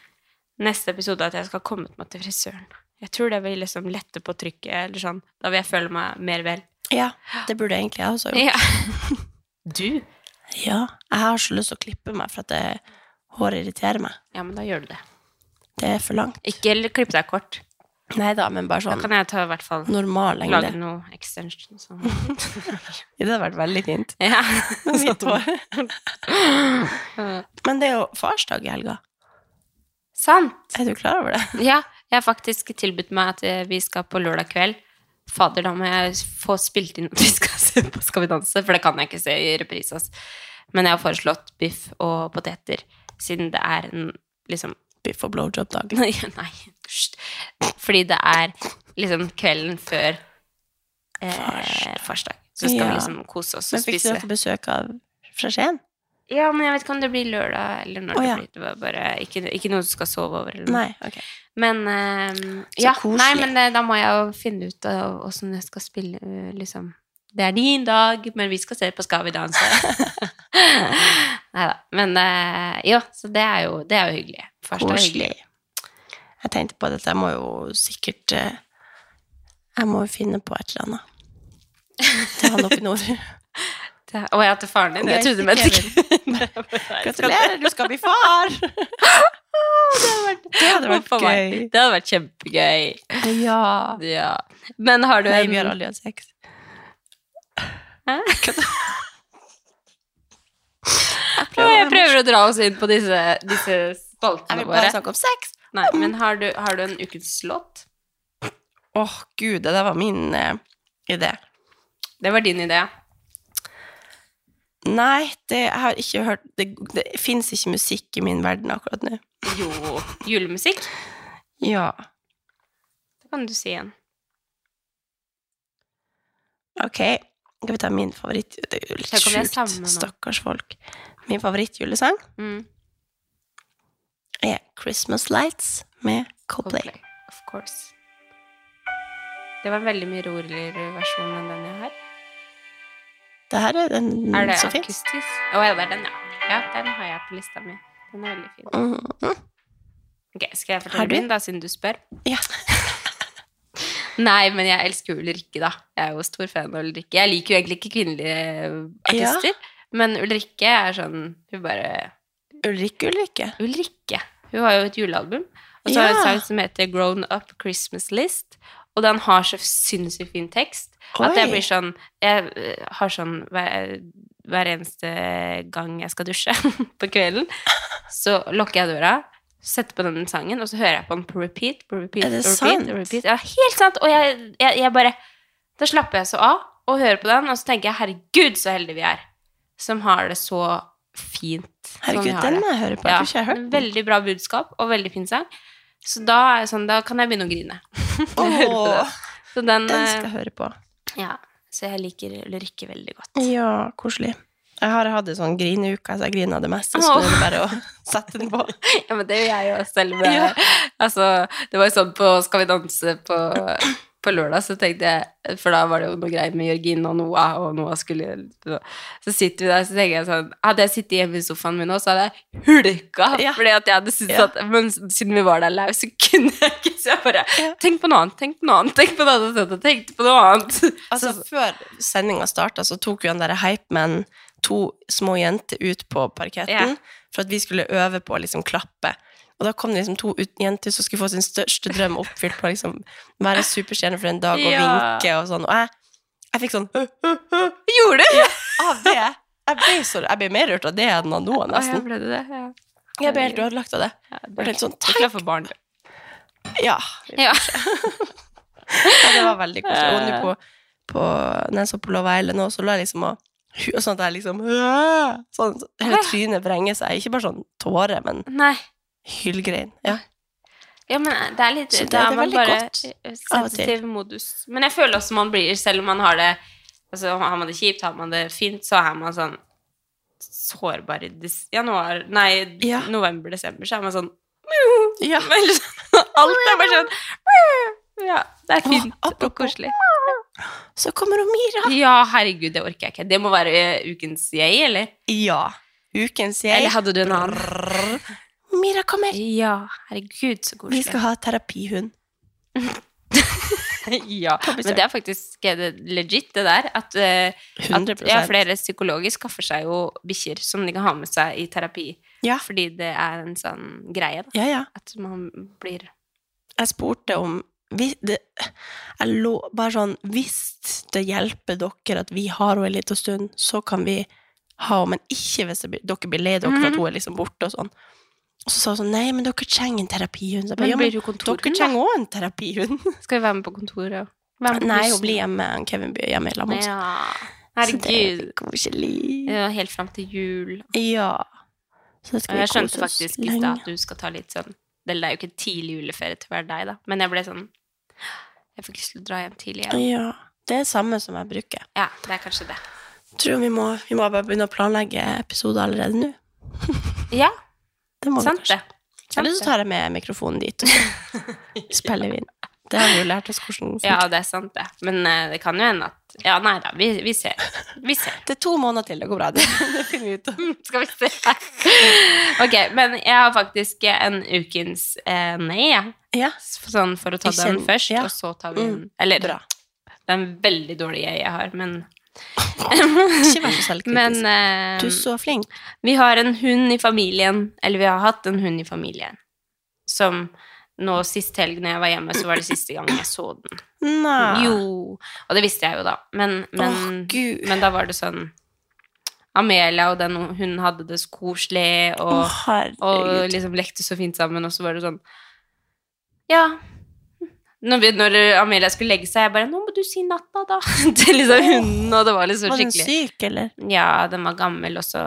Speaker 4: neste episode at jeg skal ha kommet meg til frisøren. Jeg tror det vil liksom lette på trykket, eller sånn. Da vil jeg føle meg mer vel.
Speaker 3: Ja, det burde jeg egentlig jeg også gjort.
Speaker 4: Ja. <laughs> Du?
Speaker 3: Ja, jeg har så lyst til å klippe meg for at det, håret irriterer meg.
Speaker 4: Ja, men da gjør du det.
Speaker 3: Det er for langt.
Speaker 4: Ikke l- klipp deg kort.
Speaker 3: Nei da, men bare
Speaker 4: Da
Speaker 3: sånn
Speaker 4: kan jeg ta i hvert fall
Speaker 3: normal
Speaker 4: lage
Speaker 3: lengde.
Speaker 4: noe extension. Sånn. <laughs>
Speaker 3: Det hadde vært veldig fint.
Speaker 4: Ja.
Speaker 3: Hvitt hår. <laughs> Men det er jo farsdag i helga.
Speaker 4: Sant.
Speaker 3: Er du klar over det?
Speaker 4: Ja, jeg har faktisk tilbudt meg at eh, vi skal på lørdag kveld. Fader, da må jeg få spilt inn <laughs> at vi skal se på Skal vi danse, for det kan jeg ikke se i reprise. ass. Men jeg har foreslått biff og poteter, siden det er en liksom <laughs>
Speaker 3: Biff og blowjob-dag.
Speaker 4: Nei, nei. hysj. Fordi det er liksom kvelden før eh, farsdag. Så skal
Speaker 3: Ja.
Speaker 4: vi liksom kose oss og
Speaker 3: Men fikk du
Speaker 4: spise.
Speaker 3: dere besøk av fra Skien?
Speaker 4: Ja, men jeg vet ikke om det blir lørdag eller når
Speaker 3: Å,
Speaker 4: det
Speaker 3: ja.
Speaker 4: blir. Det var bare ikke, ikke noe du skal sove over. Eller noe.
Speaker 3: Nei. ok.
Speaker 4: Men ehm,
Speaker 3: Så
Speaker 4: ja,
Speaker 3: koselig.
Speaker 4: nei, men eh, da må jeg jo finne ut av åssen jeg skal spille, eh, liksom. Det er din dag, men vi skal se på Skal vi
Speaker 3: <laughs>
Speaker 4: danse. nei da. Men eh, jo, så det er jo, det er jo hyggelig. Farsdag er hyggelig.
Speaker 3: Koselig. Jeg tenkte på at jeg må jo sikkert eh, Jeg må jo finne på et eller <laughs> annet. Til han oppe i nord.
Speaker 4: Det er- Å, jeg til faren din. Jeg trodde du mente <laughs>
Speaker 3: Gratulerer, du skal bli <laughs> far! Det hadde vært
Speaker 4: Huff a meg.
Speaker 3: gøy.
Speaker 4: Det hadde vært kjempegøy.
Speaker 3: Ja.
Speaker 4: Ja. Men har du
Speaker 3: Nei,
Speaker 4: en
Speaker 3: vi har aldri hatt sex.
Speaker 4: Hæ?
Speaker 3: prøver-
Speaker 4: Å, jeg prøver å dra oss inn på disse, disse
Speaker 3: Jeg
Speaker 4: spaltene
Speaker 3: vil bare sånn.
Speaker 4: våre.
Speaker 3: snakke om sex.
Speaker 4: Nei, men har du, har du en ukens låt?
Speaker 3: Åh, gud, det der var min eh, idé.
Speaker 4: Det var din idé.
Speaker 3: Nei, det, jeg har ikke hørt Det, det fins ikke musikk i min verden akkurat nå.
Speaker 4: Jo, julemusikk.
Speaker 3: Ja,
Speaker 4: Det kan du si igjen.
Speaker 3: ok. Skal vi ta min favoritt Det er jo litt
Speaker 4: Tenk om vi er sammen
Speaker 3: sjukt,
Speaker 4: nå.
Speaker 3: stakkars folk. Min favorittjulesang
Speaker 4: Mm.
Speaker 3: er Christmas Lights med Coldplay.
Speaker 4: Coldplay. Of course. Det var en veldig mye roligere versjon enn den jeg har.
Speaker 3: Det her er den
Speaker 4: Er det
Speaker 3: som fins.
Speaker 4: akustisk? Å ja, det er den, ja. Ja, Den har jeg på lista mi. Den er veldig fin.
Speaker 3: Mhm.
Speaker 4: Ok, Skal jeg
Speaker 3: Har
Speaker 4: fortelle
Speaker 3: du?
Speaker 4: min, da, siden du spør?
Speaker 3: Ja.
Speaker 4: Nei, men jeg elsker jo Ulrikke, da. Jeg er jo stor fan av Ulrikke. Jeg liker jo egentlig ikke kvinnelige artister, men Ulrikke er sånn Hun bare
Speaker 3: Ulrikke, Ulrikke?
Speaker 4: Ulrikke. Hun har jo et julealbum. Og så har hun
Speaker 3: Ja.
Speaker 4: en sang som heter Grown Up Christmas List. Og den har så sinnssykt fin tekst at
Speaker 3: Oi.
Speaker 4: jeg blir sånn Jeg eh, har sånn hver, hver eneste gang jeg skal dusje <laughs> på kvelden, så lukker jeg døra, setter på den sangen, og så hører jeg på den på repeat, på repeat,
Speaker 3: Er det
Speaker 4: på repeat,
Speaker 3: sant?
Speaker 4: og repeat. Ja, helt sant! Og jeg, jeg, jeg bare Da slapper jeg så av og hører på den, og så tenker jeg herregud, så heldige vi er som har det så fint. som
Speaker 3: Herregud,
Speaker 4: vi har
Speaker 3: den
Speaker 4: det.
Speaker 3: må jeg høre på. Jeg tror ikke jeg har hørt den.
Speaker 4: Veldig bra budskap og veldig fin sang. Så da, er jeg sånn, da kan jeg begynne å grine. Når jeg hører på den. Så den,
Speaker 3: Den skal jeg
Speaker 4: eh,
Speaker 3: høre på.
Speaker 4: Ja, så jeg liker Ulrikke veldig godt.
Speaker 3: Ja, koselig. Jeg har hatt en sånn grineuke, så jeg griner det meste. Så
Speaker 4: Åh.
Speaker 3: nå er det bare å sette den på.
Speaker 4: Ja, men det gjør jeg jo selv.
Speaker 3: <laughs>
Speaker 4: men- Altså, det var jo sånn på Skal vi danse på, på lørdag, så tenkte jeg For da var det jo noe greier med Jørgine og Noah, og Noah skulle Så sitter vi der, så tenker jeg sånn Hadde jeg sittet hjemme i sofaen min nå, så hadde jeg hulka. Fordi at jeg hadde syntes at Men siden vi var der live, så kunne jeg ikke Så jeg bare Tenk på noe annet, tenk på noe annet, tenk på noe annet. og Tenkte på noe annet. <laughs>
Speaker 3: Altså, før sendinga starta, så tok jo han derre hypeman to små jenter ut på parketten
Speaker 4: Ja.
Speaker 3: for at vi skulle øve på å liksom klappe. Og da kom det liksom to ut jenter som skulle få sin største drøm oppfylt på å liksom være superstjerne for en dag og
Speaker 4: Ja.
Speaker 3: vinke og sånn. Og jeg, jeg fikk sånn <laughs>
Speaker 4: Gjorde du?
Speaker 3: av det. Jeg ble, så, jeg ble mer rørt av det enn av noe,
Speaker 4: Å, ja,
Speaker 3: nesten.
Speaker 4: ble det det? Ja.
Speaker 3: Jeg ble helt ødelagt av det. Jeg ble helt sånn,
Speaker 4: Du er klar for barn, du.
Speaker 3: ja.
Speaker 4: Ja.
Speaker 3: Ja, det var veldig koselig. Og nå på, på, når jeg så på Love Island nå, så lå jeg liksom og og Sånn at jeg liksom «Åh!» Sånn så hele trynet vrenger seg. Ikke bare sånn tåre, men
Speaker 4: Nei.
Speaker 3: hylgrein. Ja.
Speaker 4: Ja, men det er litt
Speaker 3: Så det-
Speaker 4: Da
Speaker 3: det er
Speaker 4: er man
Speaker 3: veldig
Speaker 4: bare
Speaker 3: godt,
Speaker 4: eh,
Speaker 3: av og til.
Speaker 4: sensitiv modus. Men jeg føler også man blir, selv om man har det altså, Har man det kjipt, har man det fint, så er man sånn sårbar i des januar Nei, november-desember, så er man sånn <laughs>
Speaker 3: ja.
Speaker 4: Alt er bare sånn <laughs> Ja, det er fint og koselig.
Speaker 3: Så kommer Mira.
Speaker 4: Ja, herregud, det orker jeg ikke. Det må være eh, ukens jeg, eller?
Speaker 3: Ja. Ukens jeg.
Speaker 4: Eller hadde du en annen?
Speaker 3: Mira, kom her.
Speaker 4: Ja, herregud, så koselig.
Speaker 3: Vi skal ha terapihund.
Speaker 4: <laughs> ja,
Speaker 3: På besøk.
Speaker 4: men det er faktisk er det legit, det der. At, eh, at
Speaker 3: 100%.
Speaker 4: ja, flere psykologer skaffer seg jo bikkjer som de kan ha med seg i terapi. Fordi det er en sånn greie, da.
Speaker 3: Ja, ja.
Speaker 4: At man blir
Speaker 3: Jeg spurte om vi, det, jeg lå, bare sånn, Hvis det hjelper dere at vi har henne en liten stund, så kan vi ha henne, men ikke hvis det blir, dere blir lei dere for at
Speaker 4: Mhm.
Speaker 3: hun er liksom borte og sånn. Og så sa hun sånn Nei, men dere trenger en terapihund. Så jeg bare,
Speaker 4: Men
Speaker 3: ja,
Speaker 4: blir
Speaker 3: men
Speaker 4: du kontorhund,
Speaker 3: dere
Speaker 4: da?
Speaker 3: trenger òg en terapihund.
Speaker 4: Skal vi være med på kontoret? og- Være med
Speaker 3: <laughs>
Speaker 4: på
Speaker 3: Nei,
Speaker 4: bussen?
Speaker 3: hun blir hjemme. han Kevin blir hjemme i lag med oss.
Speaker 4: Ja.
Speaker 3: Så det
Speaker 4: Herregud.
Speaker 3: er koselig.
Speaker 4: Ja, helt fram til jul.
Speaker 3: Ja. Så det skal vi
Speaker 4: Og jeg skjønte
Speaker 3: kose oss
Speaker 4: faktisk i stad at du skal ta litt sånn Eller det er jo ikke tidlig juleferie til å være deg, da, men jeg ble sånn Jeg fikk lyst til å dra hjem tidlig igjen.
Speaker 3: Ja. Det er det samme som jeg bruker.
Speaker 4: Ja, det er kanskje det.
Speaker 3: Tror vi må, vi må bare begynne å planlegge episoder allerede nå.
Speaker 4: Ja,
Speaker 3: Det må vi
Speaker 4: sant
Speaker 3: kanskje.
Speaker 4: det.
Speaker 3: Eller så tar jeg med mikrofonen dit, og så
Speaker 4: <laughs>
Speaker 3: spiller vi inn. Det har vi jo lært oss hvordan
Speaker 4: Ja, det er sant, det. Men eh, det kan jo hende at Ja, nei da, vi, vi ser.
Speaker 3: <laughs>
Speaker 4: Vi ser.
Speaker 3: Det er to måneder til, det går bra. <laughs> Det, det finner Mm, vi ut av.
Speaker 4: Skal vi se. <laughs> Ok, men jeg har faktisk en ukens eh, nei, jeg.
Speaker 3: Ja.
Speaker 4: Sånn for å ta
Speaker 3: Vi
Speaker 4: den
Speaker 3: kjenner-
Speaker 4: først,
Speaker 3: ja.
Speaker 4: og så tar vi den
Speaker 3: Mm,
Speaker 4: Eller
Speaker 3: bra.
Speaker 4: det er en veldig dårlig jeg jeg har, men
Speaker 3: Ikke vær så selvkritisk.
Speaker 4: Men eh,
Speaker 3: du er så flink.
Speaker 4: vi har en hund i familien, eller vi har hatt en hund i familien, som nå sist helg når jeg var hjemme, så var det siste gang jeg så den.
Speaker 3: Nei.
Speaker 4: Jo. Og det visste jeg jo, da. Men,
Speaker 3: Ah.
Speaker 4: men,
Speaker 3: Åh, Gud.
Speaker 4: men da var det sånn Amelia og den hun hadde det så koselig, og,
Speaker 3: Å, herregud.
Speaker 4: og liksom lekte så fint sammen, og så var det sånn Ja. Når, vi, når Amelia skulle legge seg, jeg bare 'Nå må du si natta, da.' <laughs> til liksom hunden, og det var liksom
Speaker 3: Var den
Speaker 4: skikkelig
Speaker 3: syk, eller?
Speaker 4: Ja, den var gammel, og så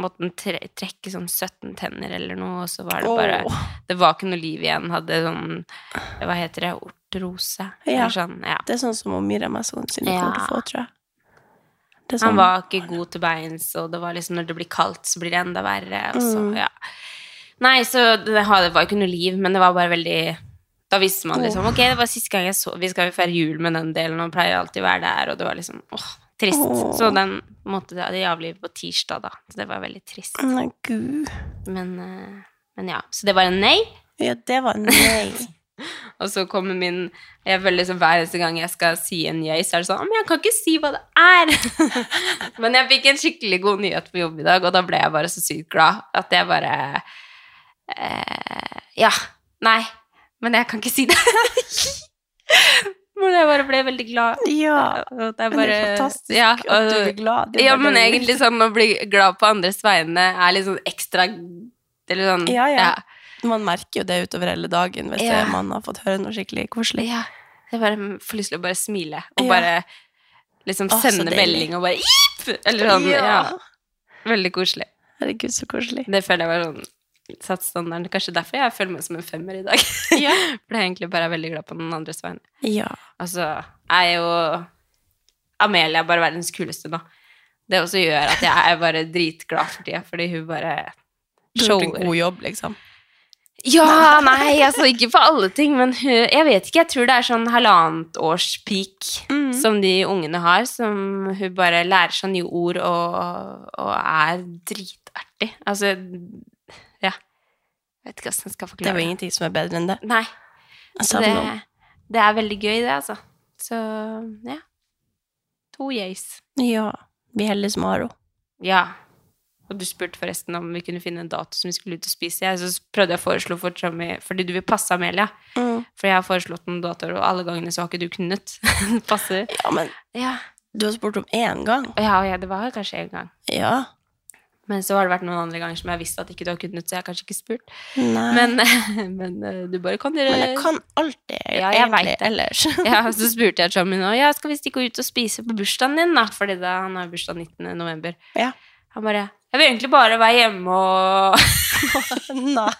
Speaker 4: måtte den tre trekke sånn 17 tenner eller noe, og så var det
Speaker 3: Åh.
Speaker 4: bare Det var ikke noe liv igjen. Hadde sånn Hva heter det? Ortrose?
Speaker 3: Ja.
Speaker 4: Eller sånn, ja.
Speaker 3: Det er sånn som Mira Mason sine
Speaker 4: Ja.
Speaker 3: kommer til å få, tror jeg. Det er
Speaker 4: Han
Speaker 3: sånn-
Speaker 4: var ikke god til beins, og det var liksom når det blir kaldt, så blir det enda verre. Og så,
Speaker 3: Mm.
Speaker 4: ja. Nei, så det ha- det var ikke noe liv, men det var bare veldig Da visste man liksom Ok, det var siste gang jeg så Vi skal jo feire jul med den delen, og pleier alltid å være der, og det var liksom åh, trist.
Speaker 3: Åh.
Speaker 4: Så den måtte de avlive på tirsdag, da. Så det var veldig trist.
Speaker 3: Nei, gud.
Speaker 4: Men, eh, men ja. Så det var en nei. <laughs>
Speaker 3: Ja, det var nei.
Speaker 4: Og så kommer min jeg er veldig sånn, Hver eneste gang jeg skal si en jeg, så er det sånn «Å, Men jeg kan ikke si hva det er! <laughs> men jeg fikk en skikkelig god nyhet på jobb i dag, og da ble jeg bare så sykt glad at jeg bare eh, Ja. Nei. Men jeg kan ikke si det. <laughs> men jeg bare ble veldig glad.
Speaker 3: Ja.
Speaker 4: Og det er
Speaker 3: men
Speaker 4: bare
Speaker 3: det er fantastisk
Speaker 4: ja,
Speaker 3: at du
Speaker 4: og-
Speaker 3: blir glad. Det er
Speaker 4: ja,
Speaker 3: bare
Speaker 4: men
Speaker 3: det vi vil.
Speaker 4: egentlig sånn å bli glad på andres vegne er litt sånn ekstra Eller sånn
Speaker 3: Ja, ja. Man merker jo det utover hele dagen hvis
Speaker 4: Ja.
Speaker 3: det- man har fått høre noe skikkelig koselig.
Speaker 4: Ja. Jeg bare får lyst til å bare smile og
Speaker 3: Ja.
Speaker 4: bare liksom
Speaker 3: Å, så
Speaker 4: sende
Speaker 3: deilig.
Speaker 4: melding og bare «Jip!» Eller sånn. Ja.
Speaker 3: Ja.
Speaker 4: Veldig koselig.
Speaker 3: Herregud, så koselig.
Speaker 4: Det føler jeg var sånn satt standarden. Kanskje derfor jeg føler meg som en femmer i dag. <laughs> For jeg egentlig bare er veldig glad på den andres vegne.
Speaker 3: Ja.
Speaker 4: Altså, jeg er jo Amelia er bare verdens kuleste nå. Det også gjør at jeg er bare dritglad for tida, fordi hun bare
Speaker 3: Du har gjort en god jobb, liksom.
Speaker 4: Ja, nei, altså ikke for alle ting, men hun, jeg vet ikke. Jeg tror det er sånn halvannet års peak som de ungene har, som hun bare lærer seg nye ord og, og er dritartig. Altså, ja. Jeg vet ikke hvordan jeg skal
Speaker 3: Det er
Speaker 4: forklare
Speaker 3: jo ingenting som er bedre enn det.
Speaker 4: Nei.
Speaker 3: Jeg
Speaker 4: Så
Speaker 3: savner
Speaker 4: det,
Speaker 3: henne.
Speaker 4: det er veldig gøy, det, altså. Så ja. To yays.
Speaker 3: Ja. Vi er heldige som har henne.
Speaker 4: Ja. Og du spurte forresten om vi kunne finne en dato som vi skulle ut og spise. Jeg, så prøvde jeg å foreslå for Tommy, fordi du vil passe Amelia.
Speaker 3: Mm.
Speaker 4: For jeg har foreslått noen datoer, og alle gangene så har ikke du kunnet. <laughs> Passer.
Speaker 3: Ja, men
Speaker 4: Ja.
Speaker 3: du har spurt om én gang.
Speaker 4: Ja, ja, det var kanskje en gang.
Speaker 3: Ja.
Speaker 4: Men så har det vært noen andre ganger som jeg har visst at ikke du har kunnet, så jeg har kanskje ikke spurt.
Speaker 3: Nei.
Speaker 4: Men, men <laughs> eh, du bare kan dere
Speaker 3: Men jeg kan alltid,
Speaker 4: Ja, jeg
Speaker 3: egentlig,
Speaker 4: vet det.
Speaker 3: ellers.
Speaker 4: <laughs>
Speaker 3: <laughs>
Speaker 4: Ja, så spurte jeg Tommy nå, ja, skal vi stikke ut og spise på bursdagen din, da? Fordi da, han har bursdag 19. november.
Speaker 3: Ja.
Speaker 4: Han bare, jeg vil egentlig bare være hjemme og <laughs>
Speaker 3: Nei.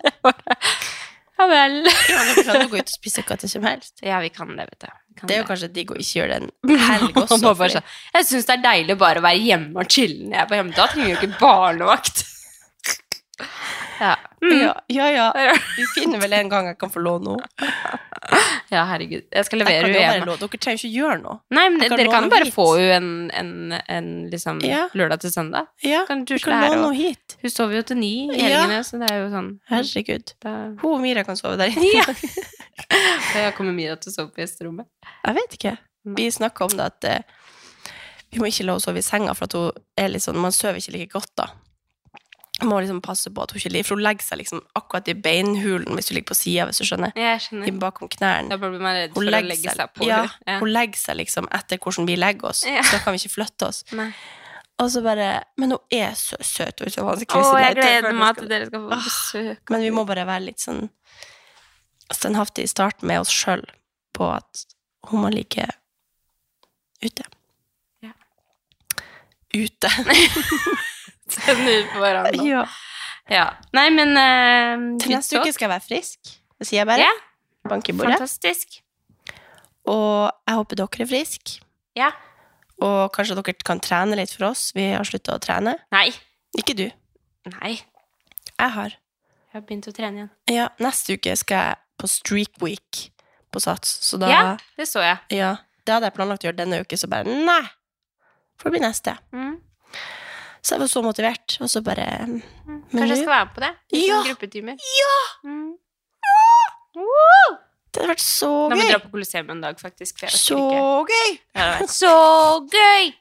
Speaker 4: Ja vel.
Speaker 3: Ja, dere kan jo gå ut og spise hva som helst.
Speaker 4: Ja, vi kan det, vet du. Vi Kan
Speaker 3: Det er jo kanskje digg å ikke gjøre
Speaker 4: <laughs>
Speaker 3: det en helg også.
Speaker 4: Mm. Han var bare
Speaker 3: fordi-
Speaker 4: sånn, jeg syns det er deilig bare å være hjemme og chille når jeg er på hjemme. Da trenger jeg jo ikke barnevakt. <laughs> Ja.
Speaker 3: Ja, ja, ja. Vi finner vel en gang jeg kan få låne henne.
Speaker 4: ja, herregud. Jeg skal
Speaker 3: Jeg
Speaker 4: levere
Speaker 3: kan jo bare
Speaker 4: henne.
Speaker 3: låne. Dere trenger ikke gjøre noe.
Speaker 4: Nei, men
Speaker 3: Jeg kan
Speaker 4: dere
Speaker 3: låne
Speaker 4: kan jo bare
Speaker 3: hit.
Speaker 4: få henne en, en, en liksom,
Speaker 3: Ja.
Speaker 4: lørdag til søndag.
Speaker 3: Ja,
Speaker 4: Kan
Speaker 3: vi
Speaker 4: tusle
Speaker 3: kan
Speaker 4: her
Speaker 3: låne
Speaker 4: og-
Speaker 3: henne hit.
Speaker 4: Hun sover jo til ni i
Speaker 3: Ja.
Speaker 4: helgene, så det er jo sånn
Speaker 3: Herregud.
Speaker 4: da,
Speaker 3: Hun og Mira kan sove der inne.
Speaker 4: <laughs> Jeg kommer mye til å sove på gjesterommet.
Speaker 3: Jeg vet ikke.
Speaker 4: Mm.
Speaker 3: Vi snakka om det at eh, vi må ikke la henne sove i senga, for at hun er litt sånn, man sover ikke like godt da. Man må liksom passe på at hun ikke ligger, for hun legger seg liksom akkurat i beinhulen hvis du ligger på sida, hvis du skjønner. I
Speaker 4: Jeg skjønner.
Speaker 3: bakom knærne.
Speaker 4: Mm. Da blir man redd
Speaker 3: Hun
Speaker 4: for å
Speaker 3: legger,
Speaker 4: legge seg
Speaker 3: seg,
Speaker 4: på
Speaker 3: ja,
Speaker 4: henne. Ja.
Speaker 3: hun legger seg liksom etter hvordan vi legger oss,
Speaker 4: Ja.
Speaker 3: så da kan vi ikke flytte oss.
Speaker 4: Nei.
Speaker 3: Og så bare Men hun er så søt. Hun er så vanskelig
Speaker 4: Å,
Speaker 3: å si
Speaker 4: jeg
Speaker 3: det. Jeg tror
Speaker 4: gleder meg
Speaker 3: skal-
Speaker 4: til dere skal få besøk. <laughs>
Speaker 3: Men vi må bare være litt sånn standhaftige i starten med oss sjøl på at hun må ligge ute.
Speaker 4: Ja. <laughs>
Speaker 3: Ute.
Speaker 4: Sende ut på hverandre.
Speaker 3: ja.
Speaker 4: Ja. Nei, men eh,
Speaker 3: Til neste
Speaker 4: guttåk.
Speaker 3: uke skal jeg være frisk. Det sier jeg bare.
Speaker 4: Ja.
Speaker 3: Bank i bordet.
Speaker 4: Fantastisk.
Speaker 3: Og jeg håper dere er friske.
Speaker 4: Ja.
Speaker 3: Og kanskje dere kan trene litt for oss. Vi har slutta å trene.
Speaker 4: Nei.
Speaker 3: Ikke du.
Speaker 4: Nei.
Speaker 3: Jeg har.
Speaker 4: Jeg har begynt å trene igjen.
Speaker 3: Ja, neste uke skal jeg på Streak Week på Sats, så da
Speaker 4: Ja, det så jeg.
Speaker 3: Ja, det hadde jeg planlagt å gjøre denne uke, så bare nei! Får bli neste.
Speaker 4: Mm.
Speaker 3: Så jeg var så motivert, og så bare mm,
Speaker 4: Kanskje jeg
Speaker 3: nå-
Speaker 4: skal være med på det? I
Speaker 3: Ja.
Speaker 4: sånne gruppetimer.
Speaker 3: Ja!
Speaker 4: Mm.
Speaker 3: Det hadde vært så
Speaker 4: Da må vi
Speaker 3: gøy!
Speaker 4: dra på Colosseum en dag, faktisk. For jeg orker
Speaker 3: Så
Speaker 4: ikke.
Speaker 3: gøy!
Speaker 4: Det hadde vært så gøy!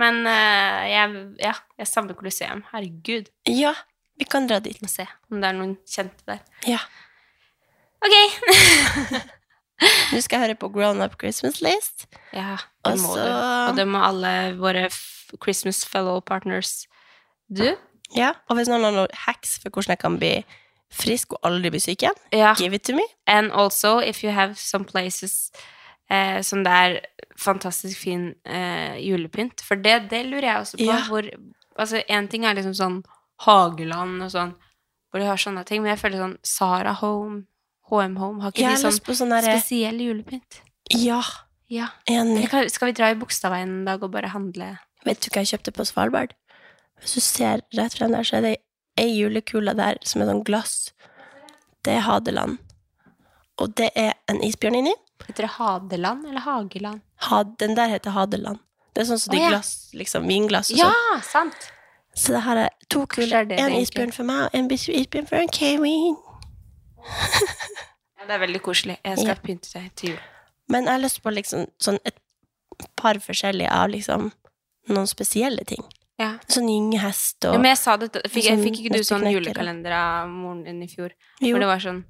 Speaker 4: Men eh, jeg, ja, jeg savner Colosseum. Herregud.
Speaker 3: Ja, vi kan dra dit.
Speaker 4: Må se om det er noen kjente der.
Speaker 3: Ja.
Speaker 4: Ok! <laughs>
Speaker 3: Nå skal jeg høre på Grown Up Christmas List.
Speaker 4: Ja, det
Speaker 3: Og
Speaker 4: må
Speaker 3: så-
Speaker 4: du. Og det må alle våre f Christmas fellow partners. Du?
Speaker 3: Ja, Og hvis noen har noen hacks for hvordan jeg kan bli frisk og aldri bli syk igjen,
Speaker 4: Ja.
Speaker 3: give it to me.
Speaker 4: And also, if you have some places eh, som det er fantastisk fin eh, julepynt For det, det lurer jeg også på.
Speaker 3: Ja.
Speaker 4: Hvor, altså, en ting er liksom sånn Hageland og sånn, hvor de har sånne ting, men jeg føler sånn Sara Home, HM Home, har ikke
Speaker 3: Jeg
Speaker 4: de
Speaker 3: har
Speaker 4: sånn
Speaker 3: lyst på sånn derre
Speaker 4: spesiell julepynt?
Speaker 3: Ja,
Speaker 4: Ja.
Speaker 3: enig.
Speaker 4: Eller kan- skal vi dra i Bogstadveien en dag og bare handle?
Speaker 3: Vet du hva jeg kjøpte på Svalbard? Hvis du ser rett frem der, så er det ei julekule der som er sånn glass. Det er Hadeland. Og det er en isbjørn inni.
Speaker 4: Heter det Hadeland eller Hageland?
Speaker 3: Ha- Den der heter Hadeland. Det er sånn som de
Speaker 4: Å, ja.
Speaker 3: glass, liksom vinglass og
Speaker 4: Ja,
Speaker 3: sånn.
Speaker 4: sant!
Speaker 3: Så det her er to
Speaker 4: Kanskje
Speaker 3: kuler.
Speaker 4: det er det
Speaker 3: En
Speaker 4: egentlig.
Speaker 3: isbjørn for meg, og en bis- isbjørn for en Kevin.
Speaker 4: Det er veldig koselig. Jeg skal
Speaker 3: Ja.
Speaker 4: pynte seg til jul.
Speaker 3: Men jeg har lyst på liksom, sånn et par forskjellige av liksom, noen spesielle ting.
Speaker 4: Ja.
Speaker 3: Sånn gyngehest og
Speaker 4: Ja, men jeg sa det, fikk, jeg,
Speaker 3: sånn
Speaker 4: fikk ikke du sånn
Speaker 3: nøtteknekker og-
Speaker 4: julekalender av moren din i fjor?
Speaker 3: Jo.
Speaker 4: Hvor det var sånn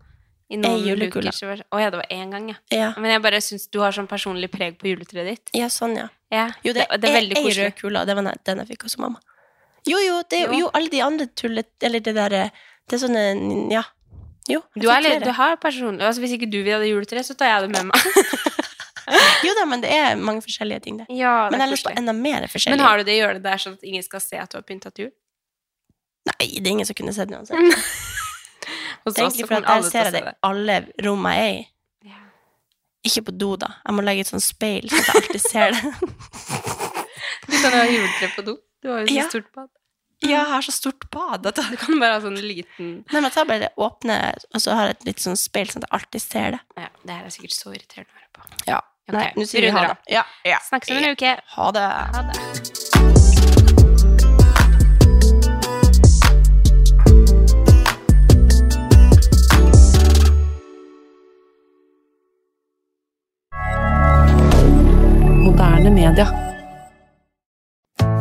Speaker 4: i
Speaker 3: En
Speaker 4: noen
Speaker 3: julekule.
Speaker 4: uker så var det sånn, Å ja, det var én gang, ja.
Speaker 3: Ja.
Speaker 4: Men jeg bare syns du har sånn personlig preg på juletreet ditt.
Speaker 3: Ja, sånn, ja.
Speaker 4: Ja.
Speaker 3: Jo, det,
Speaker 4: det er veldig
Speaker 3: ei
Speaker 4: koselig.
Speaker 3: rød kule, og det var den- den jeg fikk hos mamma. Jo, jo, det, er jo.
Speaker 4: Jo.
Speaker 3: jo alle de andre tullet... Eller det derre Det er sånne Ja. Jo. jeg
Speaker 4: Du,
Speaker 3: fikk
Speaker 4: er, litt-
Speaker 3: flere.
Speaker 4: du har personlig altså, Hvis ikke du vil ha det juletreet, så tar jeg
Speaker 3: <laughs>
Speaker 4: det med meg.
Speaker 3: Jo da, men det er mange forskjellige ting, det.
Speaker 4: Ja, det
Speaker 3: men jeg
Speaker 4: er
Speaker 3: har lyst på
Speaker 4: koselig.
Speaker 3: enda mer forskjellig.
Speaker 4: Men har du det i hjørnet der, sånn at ingen skal se at du har pynta til jul?
Speaker 3: Nei, det er ingen som kunne sett
Speaker 4: <laughs>
Speaker 3: det uansett.
Speaker 4: Hos
Speaker 3: Det er
Speaker 4: oss så
Speaker 3: egentlig fordi
Speaker 4: kommer
Speaker 3: at
Speaker 4: Altså, alle
Speaker 3: jeg ser det
Speaker 4: til å se
Speaker 3: i alle rommene jeg er i. Ikke på do, da. Jeg må legge et sånt speil, så jeg alltid ser
Speaker 4: <laughs>
Speaker 3: det.
Speaker 4: Du kan jo ha juletre på do. Du har jo så
Speaker 3: Ja.
Speaker 4: stort bad.
Speaker 3: Ja, jeg har så stort bad. at
Speaker 4: Du
Speaker 3: jeg-
Speaker 4: kan bare ha sånn liten
Speaker 3: Nei, men jeg tar bare det åpne, og så har jeg et litt sånn speil, sånn at jeg alltid ser det.
Speaker 4: Ja, det her er sikkert så irriterende å høre på.
Speaker 3: Ja.
Speaker 4: Ok,
Speaker 3: Nei, nå sier
Speaker 4: vi
Speaker 3: vi
Speaker 4: runder
Speaker 3: ha
Speaker 4: av.
Speaker 3: det. Ja, ja.
Speaker 4: Snakkes om en uke.
Speaker 3: Ha det.
Speaker 4: Ha det.
Speaker 7: Moderne media.